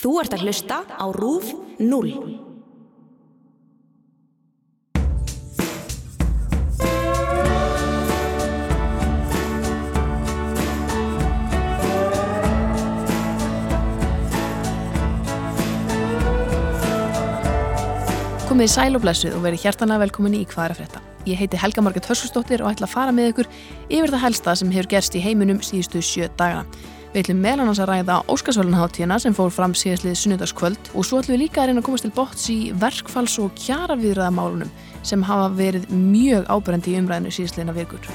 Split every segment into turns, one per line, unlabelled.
Þú ert að hlusta á RÚF 0.
Komið í sæl og blessuð og verið hjartanlega velkominni í Hvað er að frétta. Ég heiti Helga Margrét Hörskustóttir og ætla að fara með ykkur yfir það helsta sem hefur gerst í heiminum síðustu sjö dagana. Við ætlum meðlan hans að ræða Óskarsvölunháttíðina sem fór fram síðastlið sunnudagskvöld og svo ætlum við líka að reyna að komast til botts í verkfalls- og kjaraviðræðamálunum sem hafa verið mjög ábyrjandi í umræðinu síðastliðina vikur.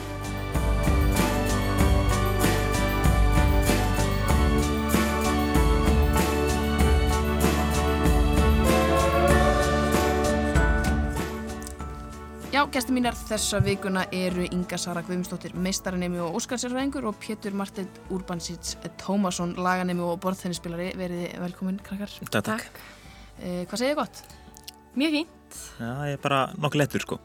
Já, gæsti mínar þessa vikuna eru Inga Sara Guðmstóttir, meistaranemi og Óskarsjárfæðingur og Pétur Marteit Urbansits Tómasson, laganemi og borðtennispilari. Verið velkomin, krakkar.
Takk, takk.
Eh, hvað segið þið gott?
Mjög fín.
Já, ég er bara nokkuð lettur sko.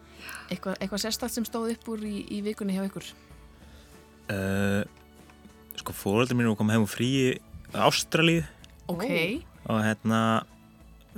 Eitthvað, eitthvað sérstakt sem stóð upp úr í, í vikunni hjá ykkur?
Uh, sko, fóröldur mínu kom heim og fríi Ástralíu
Ok.
og hérna,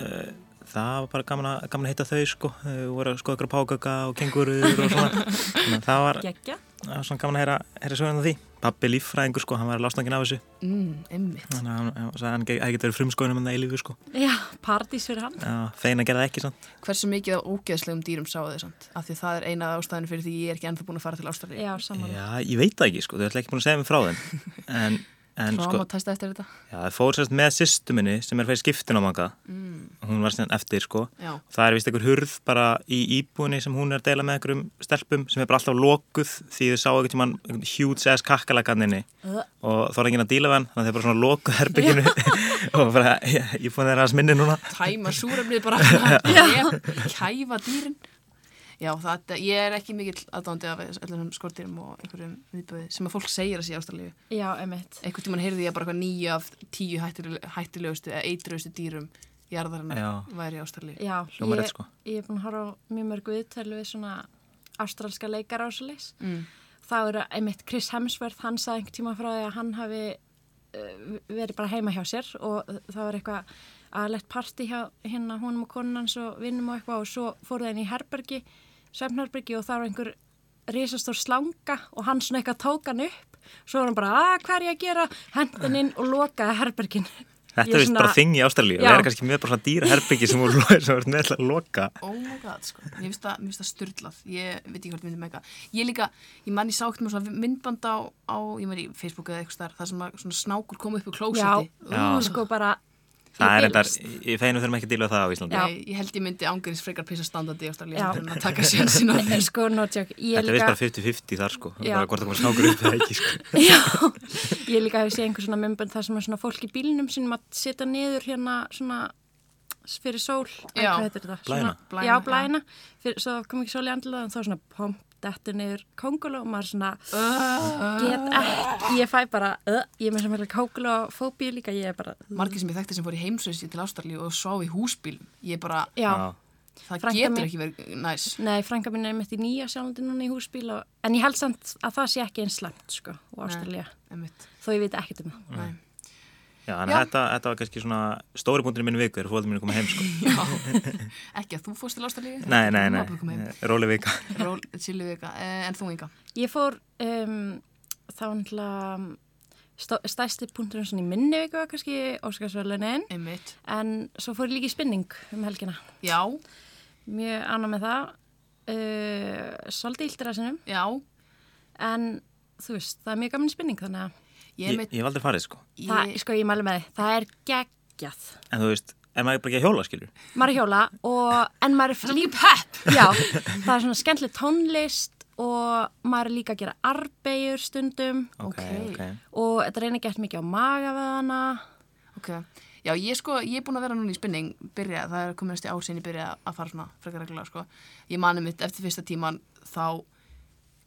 uh, það var bara gaman að, gaman að hitta þau sko. Þau voru að skoða ykkur pákaka og kengurur og svona. Þannig að það var,
Gekja.
það var svona gaman að heyra, heyra sögurinn á því. Pappi líffræðingur sko, hann var lásnangin af þessu.
Mm, einmitt.
Þannig að hann- hann sagði að hann hefði getið verið frumskóinum en það eilífu sko.
Já, paradís fyrir hann.
Já, Fein að gera það ekki samt.
Hversu mikið af ógeðslegum dýrum sáu þið samt? Af því það er eina af ástæðinu fyrir því ég er ekki ennþá búin að fara til Ástralíu.
Já, samanlega.
Já, ég veit það ekki sko, þau ætla ekki búin að segja mér frá þeim. En, en sko,
Traumatæsta eftir þetta?
Já, það fór sérst með sýstu minni sem er fyrir skiptin á manga.
Mm.
Hún var sérst eftir, sko.
Já.
Það er vist einhver hurð bara í íbúinni sem hún er að deila með einhverjum stelpum sem er bara alltaf lokuð því þau sá einhvern tímann einhvern huge ass kakkalakaninni
Ö.
og þá er enginn að díla við hann þannig að þau er bara svona lokuð herbygginu og bara, ég, ég fóði þeirra að sminni núna.
tæma súrefnið bara að kæfa dýrin Já, það, ég er ekki mikill aðdándi af öllum skortýrum og einhverjum viðböði sem að fólk segir að sé ástæðlegu
Já, emitt.
einhvern tímann heyrði ég bara eitthvað nýju af tíu hættuleg- hættulegustu eða eitrugustu dýrum jarðarinnar
Já.
væri ástæðlegu
Já,
Hljómar rétt,
ég,
sko.
ég er búin að horfa á mjög mörg viðtölu við svona ástralska leikar ásleis.
mm.
Þá er að, emitt, Chris Hemsworth, hann sagði einhvern tíma frá því að hann hafi eh, verið bara heima hjá sér og það var eitthvað aðlegt parti hjá hérna húnum og konun hans og vinnum og eitthvað og svo fóruð henni í herbergi, svefnherbergi og það var einhver risastór slanga og hann svona eitthvað tók hann upp svo var hann bara að hvað er ég að gera hendin inn og lokaði herbergin
Þetta
Ég
er vist
svona-
bara þing í Ástralíu.
Já.
Það er kannski mjög bara svona dýra herbyggi sem hún sem er með alltaf að loka.
Oh my god, sko. Ég finnst það, mér finnst það styrlað. Ég veit ekki hvort myndi mega. Ég líka, ég mann ég sátt mér svona myndband á, á ég meðan í Facebook eða eitthvað þar, þar sem að svona snákur kom upp úr
Já,
klósiti.
Já.
sko bara
Það er
ég
endar, ég feinu þurfum ekki að díla við það á Íslandi.
Já.
Nei, ég held ég myndi ángrins frekar pissa standandi í Ástralíu
Já.
heldur en að taka sjensin á því.
vil- Sko, no joke Ég
Þetta er vist
líka,
bara 50-50 þar sko,
Já.
bara hvort það komið snákur upp eða ekki sko.
ég líka hef séð einhver svona mymbönd þar sem er svona fólk í bílnum sínum að setja niður hérna svona fyrir sól Æ,
Já.
hvað heitir þetta?
Blæna.
Svona-
Blæna,
Já,
já.
blæna fyrir, Svo kom ekki sól í andlað en þá svona pomp dettur niður konguló og maður svona
Uh.
get ekki Ég fæ bara, uh, ég er með sem hefði konguló fóbíu líka, ég er bara
Margir sem ég þekkti sem fór í heimsveisi til Ástralíu og svá í húsbílum. Ég bara,
Já,
það
Frænka
getur
mín-
ekki verið næs.
nei, frænka mín er mitt í nýja sjálfandi núna í húsbíl og, en ég held samt að það sé ekki eins slemt sko, og ástæðlega
Einmitt.
þó ég veit ekkert um það
Nei.
Já, en
Já.
þetta, þetta var kannski svona stóri búndinu minn viku þegar fólkið mínu koma heim sko.
Já, ekki að þú fórst til Ástralíu.
Nei,
Mamma
nei, nei,
bara kom heim.
róli vika.
Ról, chillu vika. Eh, En þú Inga?
Ég fór um, þá náttúrulega stæsti punkturinn svona í minni viku var kannski Óskarsvölunin
Einmitt.
en svo fór ég líka í spinning um helgina.
Já,
Mjög ána með það, uh, svolítið íldir að sinnum
já.
en þú veist, það er mjög gaman í spinning þannig að
Ég
Ég,
er mitt,
ég hef aldrei farið sko.
það,
ég,
sko ég mælu með þið, það er geggjað.
En þú veist, er maður bara ekki að hjóla skilur?
Maður er að hjóla og en maður er líka
pepp.
Já, það er svona skemmtileg tónlist og maður er líka að gera arbegjur stundum
Ok,
Ókei.
ok.
og þetta reyna gert mikið á magaveðana.
Ok, já ég sko, ég er búin að vera núna í spinning, byrja, það er komin næstu ár sín ég byrja að fara svona frekar reglulega sko. Ég mani mitt eftir fyrsta tíman þá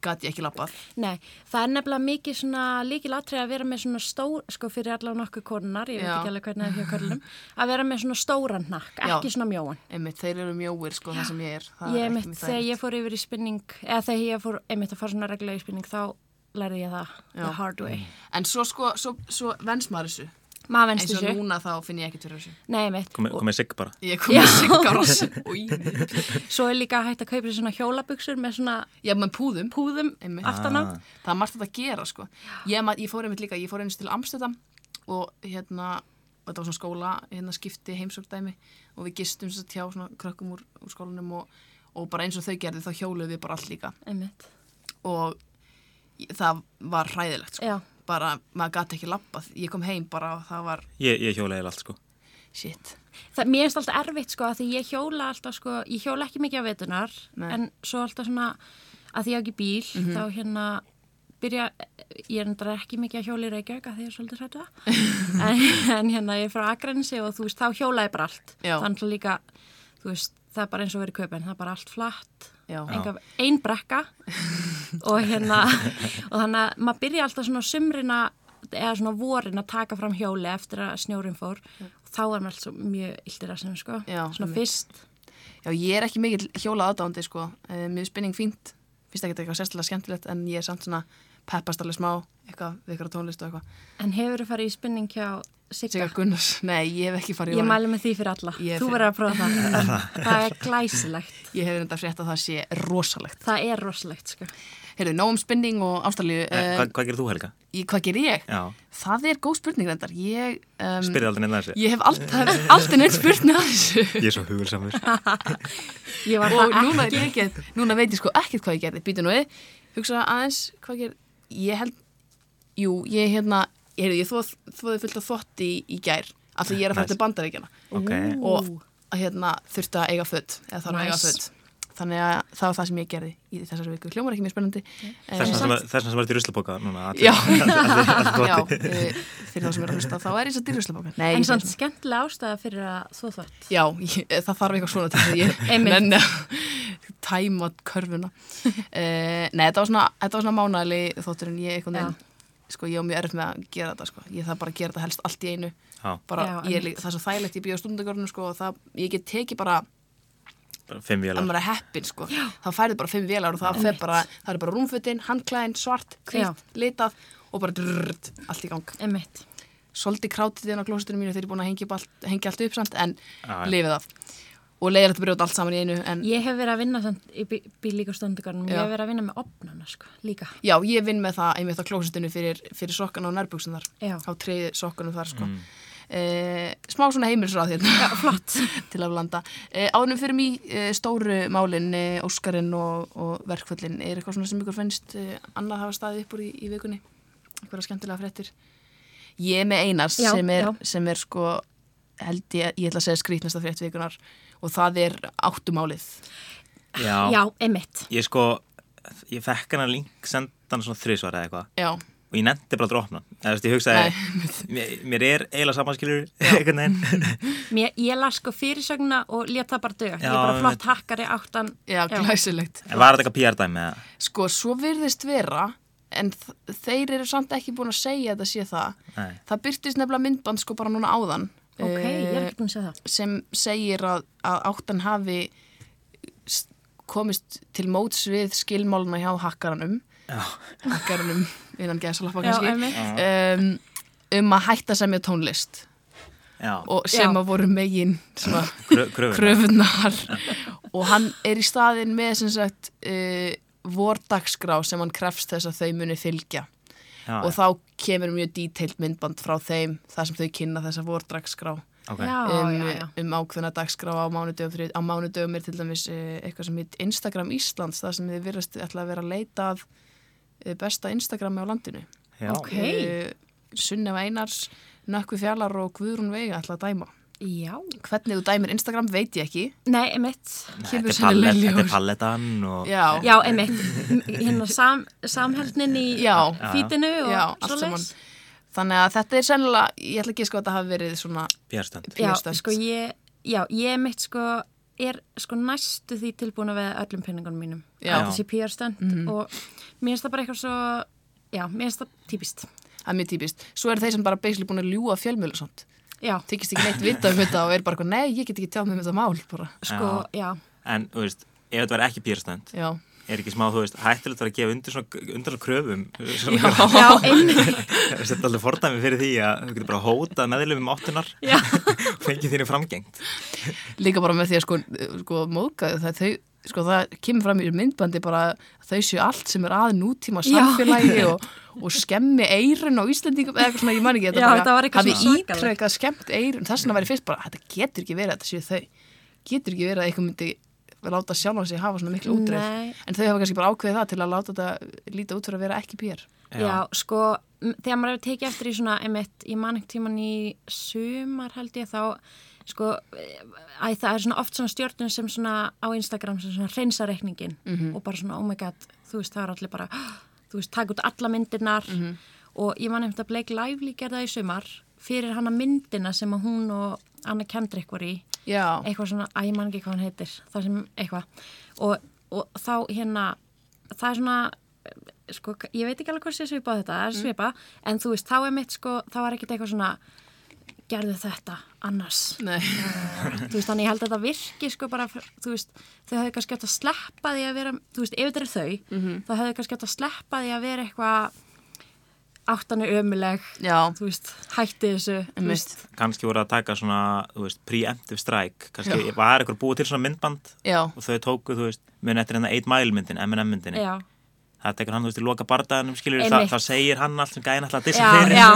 gat ég ekki lappað.
Nei, það er nefnilega mikið svona líkil atrið að vera með svona stór, sko fyrir allavega nokkuð konunar, ég veit
Já.
ekki alveg hvernig það er hjá körlum, að vera með svona stóran hnakk,
Já.
ekki svona mjóan.
Einmitt, þeir eru mjóir sko, það sem ég er. Það
Ég
er
mitt, þegar ég fór yfir í spinning, eða þegar ég fór einmitt að fara svona reglulega í spinning, þá lærði ég það
Já.
Mm.
the hard way.
En svo sko, svo, svo vens maður þessu.
maður
eins
venstu
og
sér,
núna þá finn ég ekkert fyrir þessu
nei mitt
komið komi sigg bara
ég kom með siggaross og í-
svo er líka hægt að kaupa sér svona hjólabuxur með svona
já, með púðum
púðum
Einmitt.
aftan á
það er margt að gera sko ég, ma- ég fór einmitt líka, ég fór einmitt til Amsterdam og hérna og þetta var svona skóla, hérna skipti heimsókdæmi og við gistum svo tjá svona krökkum úr, úr skólanum og, og bara eins og þau gerði þá hjóluðu við bara allt líka
einmitt,
og ég- það var hræðilegt sko.
já,
bara maður gati ekki lappað ég kom heim bara og það var
ég, ég hjóla eða allt sko
shit
það, mér finnst alltaf erfitt sko að því ég hjóla alltaf sko, ég hjóla ekki mikið á vetunar
Nei. Mhm.
en svo alltaf svona að því ég á ekki bíl, þá hérna byrja, ég er endara ekki mikið að hjóla í Reykjavík að því ég er svolítið hrætta en, en hérna ég er frá Akrensi og þú veist, þá hjóla ég bara allt
Já.
þannig líka, þú veist, það er bara eins og verið kaupin, það er bara allt flatt
já,
einhver, ein brekka og hérna og þannig að maður byrja alltaf svona á sumrin að eða svona vorin að taka fram hjóli eftir að snjórin fór þá er maður alltaf mjög illt í rassinu sko
Já,
svona
einmitt.
fyrst
já ég er ekki mikill hjóla aðdándi sko Eh, mér er spinning fínt finnst ekki eitthvað sérstilega skemmtilegt en ég er samt svona peppast alveg smá eitthvað við ykkur tónlist og eitthvað
en hefur þú farið í spinning hjá Sigga?
Sigur Gunnars, nei ég hef ekki farið í
Ég
honum.
mæli með því fyrir alla
Ég
þú
fer-
verður að prófa það það er glæsilegt
ég hef reynda frétt að það sé rosalegt
það er rosalegt sko
heyrðu, nóg um spinning og ástallíu
eh,
uh,
hvað, hvað gerir þú Helga?
í hvað ger ég?
Já.
það er góð spurning reyndar ég, um,
spyrði aldrei nefna þessi
ég hef alltaf, alltaf neitt spurning að þessu
ég er svo hugulsamur
Eh,
ég var
og
það
núna, er ég ekki, núna veit ég sko ekkert hvað ég gerði býtu nú við, hugsa aðeins hvað ég, ég held jú, ég hérna, ég, heyrðu, ég þóð, þóði fullt af þvotti í, í gær af því ég er að fara
Nice.
til bandaríkjana
ok
og að, hérna, þurfti að eiga föt eða þarf að eiga
Nice.
föt þannig að það var það sem ég gerði í þessari viku hljómar ekki mjög spennandi Eh,
þess vegna sem var þetta í ruslapóka núna allir-
Já,
allir- allir-
já
allir-
eh, fyrir þá sem er að hlusta þá er ég svo dýrjuslefbókan Nei,
en
ég
samt
fer-
skemmtilega ástæða fyrir að þú þvott
Já, ég, eh, það þarf eitthvað svona til þess að ég
Einmitt.
nenni að tæma körfuna uh, Nei, þetta var svona, þetta var svona mánæli þóttur en ég eitthvað
Já.
neinn Sko, ég á mjög erf með að gera þetta, sko Ég þarf bara að gera þetta helst allt í einu
Já,
bara,
Já,
ég, er líka- Það er svo þægilegt, ég býð á stundagörnum, sko og það, Ég get tekið bara
bara fimm
að
vélar
maður er heppin sko. þá færðu bara fimm vélar og það, fer bara, það er bara rúmfutin, handklæðin, svart,
Já.
hvitt, litað og bara drrrt, allt í gang
emitt
svolítið krátið inn á klósitinu mínu þegar ég er búin að hengja, upp allt, hengja allt upp samt en
Já, já.
lifið af og leiðir þetta brjóta allt saman í einu en
Ég hef verið að vinna samt í bí- bílík og stundugarnum, ég
Já.
hef verið að vinna með opnana sko, líka.
já, ég vinn með það einmitt á klósitinu fyrir, fyrir sokkana og nærbuksun þar
Já.
á treið sokkanum þar sko Eh, smá svona heimilsráð hérna Já, flott Til að blanda eh, Ánum fyrir mig eh, stóru málin eh, Óskarinn og, og verkföllin Er eitthvað svona sem ykkur fennst eh, annað hafa staðið upp úr í, í vikunni? Eitthvað skemmtilega fréttir Ég er með einas
Já,
sem, er,
já.
sem er sko held ég, ég ætla að segja skrýtnasta frétt vikunar og það er áttumálið
Já, emitt.
ég sko ég fekk hana link sendan svona þrísvar eða eitthvað
Já,
og ég nefndi bara að dropna eða þú veist ég hugsaði mér, mér er eiginlega samanskilur einhvern veginn
Mér, ég las sko fyrirsögna og leta það bara dög. Ég
Já,
er bara flott
einmitt.
hakkari áttan.
já, glæsilegt
en var þetta eitthvað PR dæmi eða
Sko, svo virðist vera en þ- þeir eru samt ekki búin að segja að þetta sé það.
Nei.
Það byrtist nefnilega myndband sko bara núna áðan
Ok, ég er
eh,
ekki búin að segja það.
sem segir að, að áttan hafi s- komist til móts við skilmáluna hjá hakkaranum
Já.
hakkaranum innan gæðsalappa
Já,
kannski
einmitt.
um, um að hætta semja tónlist
já,
og sem
Já.
að voru megin svona
krö- kröfuna.
kröfunar og hann er í staðin með sem sagt uh, vordagsgrá sem hann krefst þess að þau muni fylgja
Ah, já,
og þá kemur mjög díteilt myndband frá þeim þar sem þau kynna þessa vordagsgrá
ok.
Já,
um,
Ah, já, já.
um ákveðna dagsgrá á mánudögum þrið, á mánudögum er til dæmis uh, eitthvað sem heit Instagram Íslands þar sem þið virðast ætla að vera að leita að uh, besta Instagrami á landinu
Já.
Ok.
uh, Sunnefa Einars, Nökkvi Fjallar og Guðrún Veiga ætla að dæma
Já.
hvernig þú dæmir Instagram veit ég ekki
Nei, emitt.
kemur
Þetta er
sennilega
pallet-
í
þetta er
ljós.
palletan og
Já,
Já, emitt. Hérna sam, samheldnin í
Já.
fítinu og
já, allt saman.
svoleiðis.
Þannig að þetta er sennilega, ég ætla ekki að sko að þetta hafi verið svona,
PR-stönd
Já,
Píastönd.
sko ég, já, ég mitt sko er sko næstu því tilbúin að veða öllum peningunum mínum.
Já. Mhm.
Þetta sé PR stönd og mér finnst það bara eitthvað svo, já, mér finnst það típist.
það er mjög típist. Svo eru þeir sem bara beisli búin að ljúa fjölmjölu samt.
Já,
Þykist ekki neitt vita um þetta og er bara eitthvað, nei, ég get ekki tjáð með þetta mál um bara.
sko, já,
en, þú veist, ef þetta var ekki PR-stönd
Já,
er ekki smá, þú veist, hættilegt að vera að gefa undir svona, undir svona kröfum
Já, einmitt.
þetta er alveg fordæmi fyrir því að þú getur bara hóta meðlum um áttunar
Já.
fengið þínu framgengt
Líka bara með því að sko, sko móðgæðu það þau sko það kemur fram í þessu myndbandi bara að þau séu allt sem er að nútíma
Já.
samfélagi og, og skemmi eirun á Íslandingum eða eitthvað svona, ég man ekki
Já, þetta var eitthvað
hafi
svona svakalegt.
ítrekað skemmt eirun þess vegna væri fyrst bara, þetta getur ekki verið að þetta séu þau getur ekki verið að eitthvað myndi láta sjálf sig hafa svona miklu
Nei.
útreif en þau hafa kannski bara ákveðið það til að láta þetta líta út fyrir að vera ekki pér
Já.
Já, sko, m- þegar maður hefur tekið eftir í svona, einmitt, í manningtíman í sumar held ég þá, sko, æ, það er svona oft svona stjórnum sem svona á Instagram sem svona reynsa reikningin og bara svona, oh my god, þú veist, það er allir bara, þú veist, taka út alla myndirnar og ég man eftir að Blake Lively gerða í sumar fyrir hana myndina sem að hún og Anna Kendrick voru í
Já,
eitthvað svona, að ég man ekki hvað hann heitir það sem eitthvað og, og þá hérna, það er svona eh, sko, ég veit ekki alveg hvort sé svipa á þetta, það er
Mm.
svipa en þú veist, þá er mitt sko, þá er ekkit eitthvað svona gerðu þetta annars Eh,
nei
þú veist, þannig ég held að það virki sko bara, f- þú veist, þau hefðu kannski átt að sleppa því að vera, þú veist, ef þetta er þau
Mhm.
þá hefðu kannski átt að sleppa því að vera eitthvað áttan er ömuleg
Já.
þú veist, hætti þessu þú
Einmitt.
veist,
kannski voru að taka svona, þú veist, preemptive strike kannski var eitthvað búið til svona myndband
Já.
og þau tóku, þú veist, mun eftir hérna 8 Mile myndin, M&M myndinni
já
það tekur hann, þú veist, í loka bardaðanum skilur það,
Einmitt.
þá segir hann allt sem gæðin alltaf að
Já,
dissa fyrir,
já.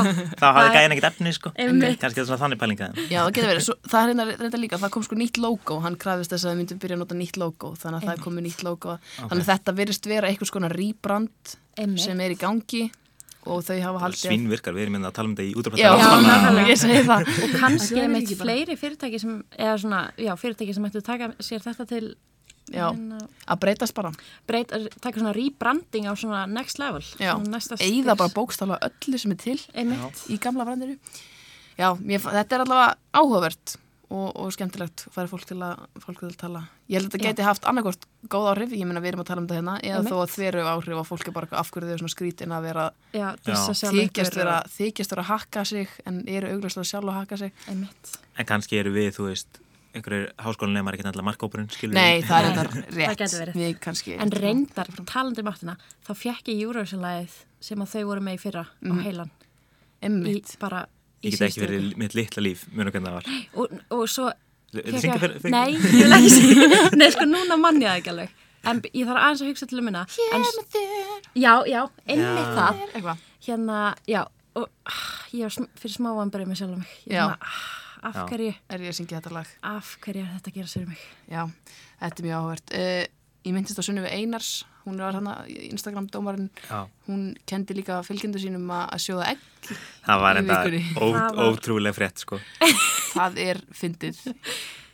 þá hafði
Það-
gæðin ekkert efni, sko
Einmitt.
kannski þetta er svona þannig pælingaðin
Já, það getur verið. Svo, það er reyndar, reyndar líka, það kom sko nýtt logo, hann krafist þess að þau myndum byrja að nota nýtt logo, þannig að það er komið nýtt logo. Þannig að þetta virðist vera einhvers konar rýbrand
Einmitt.
sem er í gangi og þau hafa haldið.
svínvirkar, við erum minna að tala um þetta í
Já,
útrafættar
nákvæmlega.
ég segi það.
og kannski
Ég
er
veit
mitt
ekki bara.
fleiri fyrirtæki sem, eða svona, já, fyrirtæki sem ættu að taka sér þetta til
Já,
uh,
að breytast bara.
breyt, taka svona rebranding á svona next level
Já,
svona næsta
eigða
stig.
bara bókstala öllu sem er til
einmitt,
í gamla brandiru. Já, mér, fa- þetta er allavega áhugavert og, og skemmtilegt að færa fólk til að, fólk til að tala. Ég held að þetta geti haft annarkort góð áhrif, ég meina við erum að tala um þetta hérna, eða
Einmitt.
þó að þveru áhrif að fólk er bara af hverju þau er svona skrítin að vera
já,
Já.
dissa sjálf
þykjast vera, þykjast vera að hakka sig en eru augljóslega sjálf að hakka sig
einmitt,
en kannski eru við, þú veist einhverjir háskólinni, maður er ekki alltaf markópurinn skilur
Nei,
við.
það er þetta rétt
gæti verið.
Við kannski
en reyndar talandi um áttina, þá fjekk ég júruvísalagið sem að þau voru með í fyrra á heilan,
Mhm.
í
Einmitt.
bara í
ég get ekki
síðustu viku.
verið mitt litla líf, mjög hvernig það var
og, og svo
Viltu
Fékk
syngja
ég-
fyrir- fyrir-
Nei, ég vil ekki syngja Nei, sko, núna mann ég það ekki alveg En ég þarf aðeins að hugsa til um minna Já, já, einmitt
Já.
það
Eitthvað.
Hérna, já og, ah, Ég var sm- fyrir smá vambarið með sjálf mig Ég
Já.
var svona, ah, Af
Já.
hverju,
Er ég að syngja þetta lag?
af hverju er þetta að gera sér um mig
Já, þetta er mjög áhvert uh, Ég myndist á Sunnifu Einars Hún var hana Instagram-dómarinn
Já.
Hún kendi líka fylgjendur sínum að að sjóða egg
það var
Í
enda
vikunni.
ó,
Það var-
ótrúlega frétt sko.
Það er fyndið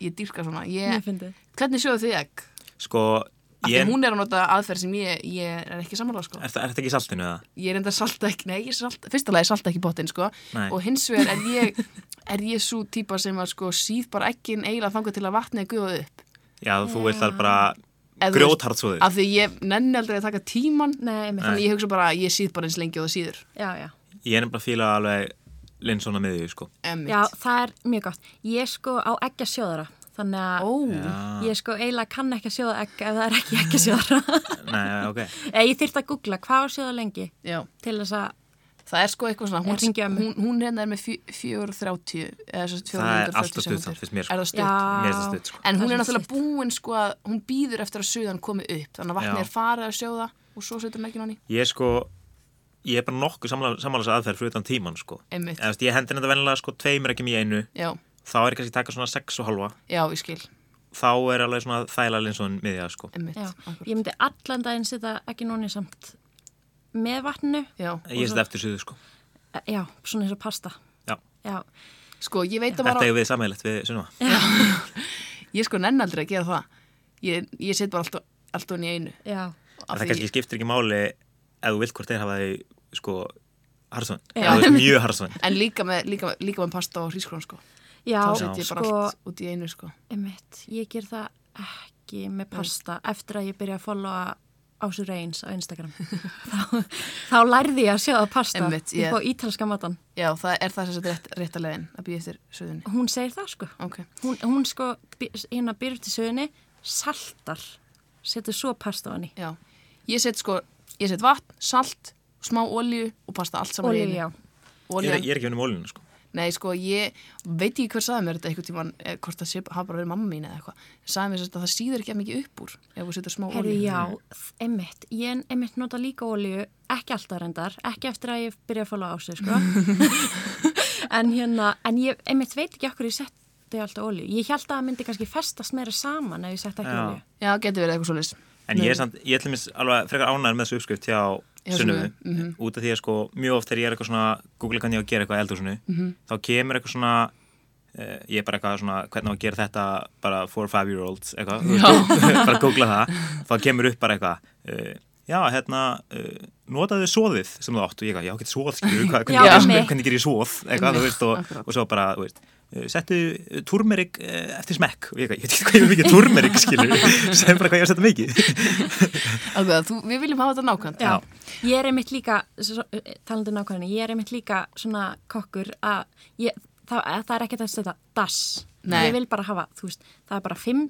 Ég dýrka svona
Mjög
ég,
fyndið.
Hvernig sjóðu þið egg?
sko
Af
ég,
Því hún er að nota aðferð sem ég, ég er ekki sammála sko.
er, það- er þetta ekki í saltinu eða?
ég er enda salta ekki, nei, ég salta, fyrsta lagi salta ekki bóttinn, sko,
Nei.
og hins vegar er ég, er ég svo típa sem að, sko, síð bara ekkin eiginlega þangað til að vatnið guða upp.
já, þú veist það bara
Ef þú veist-
grjóthartsúðið
Af því ég nenni aldrei að taka tíman,
Nei, einmitt
þannig ég hugsa bara, ég síð bara eins lengi og það síður.
Já, já
ég er nefnilega að fíla alveg linsona miðju sko.
Emmitt.
Já, það er mjög gott. Ég sko á ekki að sjóðara, þannig að
Ó,
ég sko eiginlega kann ekki að sjóða ekki ef það er ekki ekki að sjóðara.
Nei, ok.
Eða ég þyrfti að googla hvað á að sjóða lengi
Já.
til þess að,
Það er sko eitthvað svona,
Ég hringi
hún,
ömmu.
hún, hún reyndar með fjö- 4.30, eða svo
Það
430
er alltaf stutt
sekúndur.
samt, finnst mér, sko.
Er það stutt?
Já.
Mér er það stutt, sko.
En hún
Það
er
er
náttúrulega
stutt.
búin sko að hún býður eftir að suðan komi upp, þannig að vatnið
Já.
er farið að sjóða og svo setur hún ekki náni.
Ég er sko, ég er bara nokkuð sammála sammála þess aðferð fyrir utan tíman, sko.
Einmitt.
Eða, þú veist, ég hendir þetta vennilega, sko, tveimur ekki mjög einu.
Já,
Þá er ég kannski að taka svona sex og halva.
já, ég skil,
Þá er alveg svona þæla linson miðja, sko.
emmitt.
já, ég myndi allan daginn setja ekki núni samt með vatnu,
Já,
Ég er þetta eftir suðu, sko.
Eh, já, svona eins og pasta.
Já.
Já,
sko ég veit að
Þetta
bara,
er við sammeðilegt við sunnum.
ég sko nenn aldrei að gera það. Ég, ég set bara allt, á- allt onni í einu.
já.
Af
Það
því-
kannski skiptir ekki máli ef þú vilt hvort þeir hafa þau, sko, harðsvön.
Já.
Eða þú veist, mjög harðsvön.
En líka með, líka, líka með pasta og hrískrón sko.
Já,
Þá set ég bara
sko,
allt út í einu sko.
einmitt, ég ger það ekki með pasta eftir að ég byrja að followa Ásur Reyns á Instagram. þá, þá lærði ég að sjóða pasta
Einmitt, ég-
upp á ítalska matan.
Já, það er það sem sagt rétt, rétt að leiðin að býja eftir söðunni.
Hún segir það sko.
Ok,
Hún, hún sko, by- hérna byrjur til söðunni, saltar, setur svo pasta á henni.
já. Ég set sko, ég set vatn, salt, smá olíu og pasta allt saman
Olíu,
Ég
já.
er,
Olíu,
ég er ekki unnum ólinu sko.
Nei, sko, ég veit ekki hver saði mér þetta einhvern tíman, eh, hvort það sé, hafa bara verið mamma mín eða eitthvað, saði mér sem sagt að það síður ekki að mikið upp úr ef þú setur smá
Herðu,
olíu.
já, einmitt. Ég einmitt nota líka olíu, ekki alltaf reyndar, ekki eftir að ég byrja að fóla á sig, sko. en hérna, en ég einmitt veit ekki okkur ég setti alltaf olíu. Ég held að það myndi kannski festast meira saman ef ég setti ekki
Já.
olíu.
Já, getur verið eitthvað svoleiðis.
En ég er samt, ég ætlum mér alveg frekar ánæður með þessu uppskrift hjá
Já,
Sunnuðu,
Sunnuvu, mhm.
út af því að sko mjög oft þegar ég er eitthvað svona, googla hvernig ég á að gera eitthvað eldhúsinu, þá kemur eitthvað svona eh, ég er bara eitthvað svona, hvernig á að gera þetta bara for five year olds eitthvað, þú veist, bara googla það þá kemur upp bara eitthvað eh, já, hérna, eh, notaðu soðið sem þú átt og ég eitthvað, já, getur soð skilur, hvað, hvernig,
Já,
já,
einmitt.
hvernig, hvernig gerir ég soð eitthvað, þú veist, og,
Akkurat.
og svo bara, þú veist eh, settu eh, turmerik eh, eftir smekk og ég, eitthvað, ég veit ekki hvað ég er mikið turmerik skilur sem bara hvað ég er að setja mikið
Alveg að þú, við viljum hafa þetta nákvæmt.
Já. Ég er einmitt líka, talandi nákvæmni, ég er einmitt líka svona kokkur að ég, það, að það er ekkert að setja das.
Nei.
Ég vil bara hafa, þú veist, það er bara 5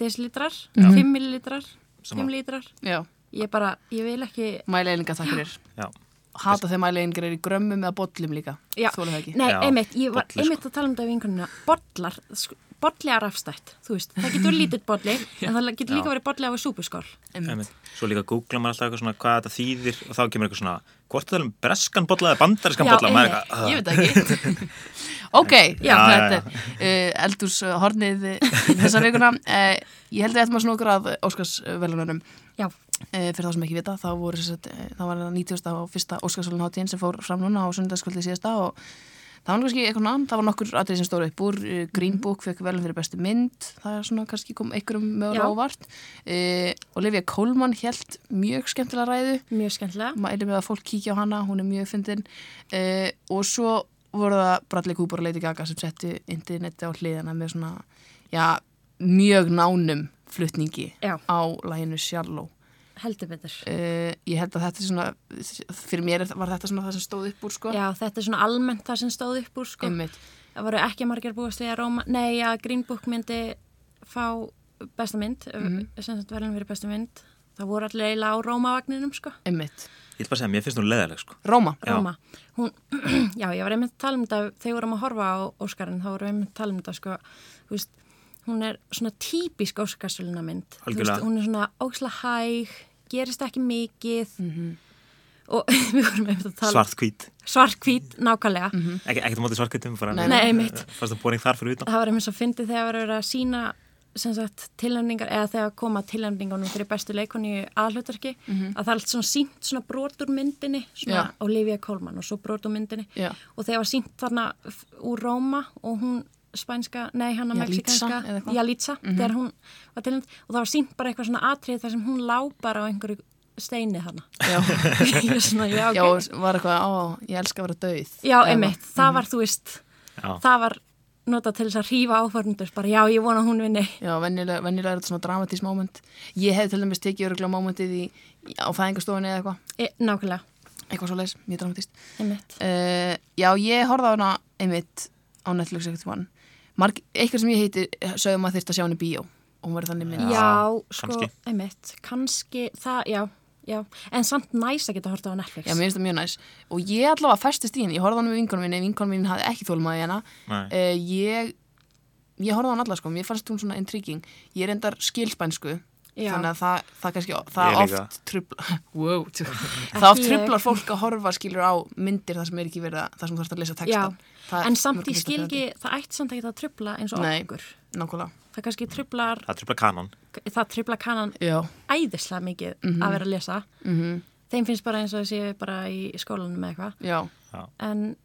desilitrar,
Mhm.
5 millilitrar,
Sama.
5 litrar.
Já,
Ég bara, ég vil ekki
mæleininga þakkirir.
Já,
Hata þegar mæleiningar er í grömmum eða bollum líka.
Já.
Þóla það ekki.
Nei,
Já,
einmitt, ég var
bolli, sko.
einmitt að tala um þetta við einhvernina Bollar, sk- bolli er afstætt Þú veist, það getur lítitt bolli En það getur líka
Já.
verið bolli af súpuskál
Einmitt.
einmitt. Svo líka googla maður alltaf eitthvað svona hvað þetta þýðir og þá kemur eitthvað svona hvort það er um breskan bolla eða bandariskan
Já,
bolla maður
einmitt.
eitthvað,
Ég veit það ekki. ok, já,
Ah. Já,
þetta
já,
er uh, eldurshornið þessa vikuna. Uh, ég held að við ættum að snúa okkur að Óskarsvelunum.
Já,
Uh, fyrir þá sem ekki vita, þá, voru, sem sagt, eh, þá var það 90. og fyrsta Óskarsvölunháttíðin sem fór fram núna á sunnudagskvöldi síðasta og það var nú kannski eitthvað annað, það var nokkur atrið sem stóru upp úr, eh,
Mhm.
Green Book fekk velum fyrir bestu mynd, það er svona kannski kom einhverjum mögur
Já.
ávart. Uh, Olivia Colman held mjög skemmtilega ræðu
mjög skemmtilega
mælum við að fólk kíkja á hana, hún er mjög fyndin uh, og svo voru það Bradley Cooper og Lady Gaga sem settu interneti á hliðina með svona já, mjög nánum flutningi
Já.
á læginu Shallow
Heldur betur
uh, ég held að þetta er svona fyrir mér er- var þetta svona það sem stóð upp úr sko
Já, þetta er svona almennt það sem stóð upp úr sko.
Einmitt.
Það voru ekki margir búist við að Róma Nei, að Green Book myndi fá besta mynd
Mhm.
sem þetta verðin fyrir besta mynd Það voru allir eiginlega á Rómavagninum sko.
Einmitt.
Ég vil bara segja, mér finnst hún leðaleg sko.
Róma
Já.
Róma, hún, já, ég var einmitt að tala um þetta, þegar vorum að horfa á Óskarinn, þá vorum við einmitt að tala um þetta, sko, þú veist, hún er svona típisk Óskarsvöluna mynd, þú
Algjörlega.
hún er svona óksla hæg, gerist ekki mikið og við vorum einmitt að tala
Mhm. svart Mhm. hvít,
svartkvít, nákvæmlega,
Ek, ekkert á móti svart hvítum bara Eh,
Nei,
nei, einmitt.
fannst það bóring þar fyrir utan
það var einmitt svo fyndið þegar var verið að sína sem sagt tilnæmningar eða þegar koma tilnæmningunum fyrir bestu leikonu í aðhlautarki að það er allt svona sínt svona brot úr myndinni svona
Mhm. Já.
Olivia Colman og svo brot úr myndinni
Já.
og þegar var sínt þarna f- úr Róma og hún spænska, nei hann að
Yalitza eða
mexikanska
eitthvað. Mhm.
Jalitza, þegar hún var tilnæmt og það var sínt bara eitthvað svona atrið þar sem hún lá bara á einhverju steini þarna
já,
Ég er svona, já,
já
okay.
og var eitthvað á, ég elska að vera döið
já, einmitt, það var þú veist
Já.
það var nota til þess að rífa áförnundur bara já, ég vona að hún vinni
Já, venjulega, venjulega er þetta svona dramatís moment ég hef til dæmis tekið öruglega momentið í, á fæðingastofunni eða eitthvað
E, nákvæmlega,
eitthvað svo leis, mjög dramatíst
einmitt.
uh, Já, ég horfði á hana einmitt á Netflix ekkert mann Marg, eitthvað sem ég heiti sögum að þyrst að sjá henni í bíó og hún verið þannig minn
Já, sko,
kannski.
einmitt, kannski, það, já, já, en samt næst að geta horta á Netflix.
Já, mér finnst það mjög næs og ég allavega festist í henni, ég horfði á hana með vinkonum minni vinkonum minni hafði ekki þólmaði henni
Nei.
uh, ég, ég horfði á hana allavega sko mér fannst hún svona intriguing, ég er endar skilspænsku
Já.
þannig að það, það kannski
Ég
það
líka.
oft, trubla, wow, tjú- það oft
ég.
trublar fólk að horfa skilur á myndir þar sem er ekki verið að það sem þarf að lesa
já,
textan sko. Það
en
er
samt
mörgum
ég
finnst það
skil
pirrandi.
ekki, það ætti samt ekki að trubla eins og
Nei.
okkur.
Nákvæmlega
Það kannski trublar,
það er trúbla kanon
það trubla kannan
Já,
æðislega mikið
Mhm.
að vera að lesa. -hmm. Þeim finnst bara eins og þessi bara í skólanum eða eitthvað.
já
Já.
En,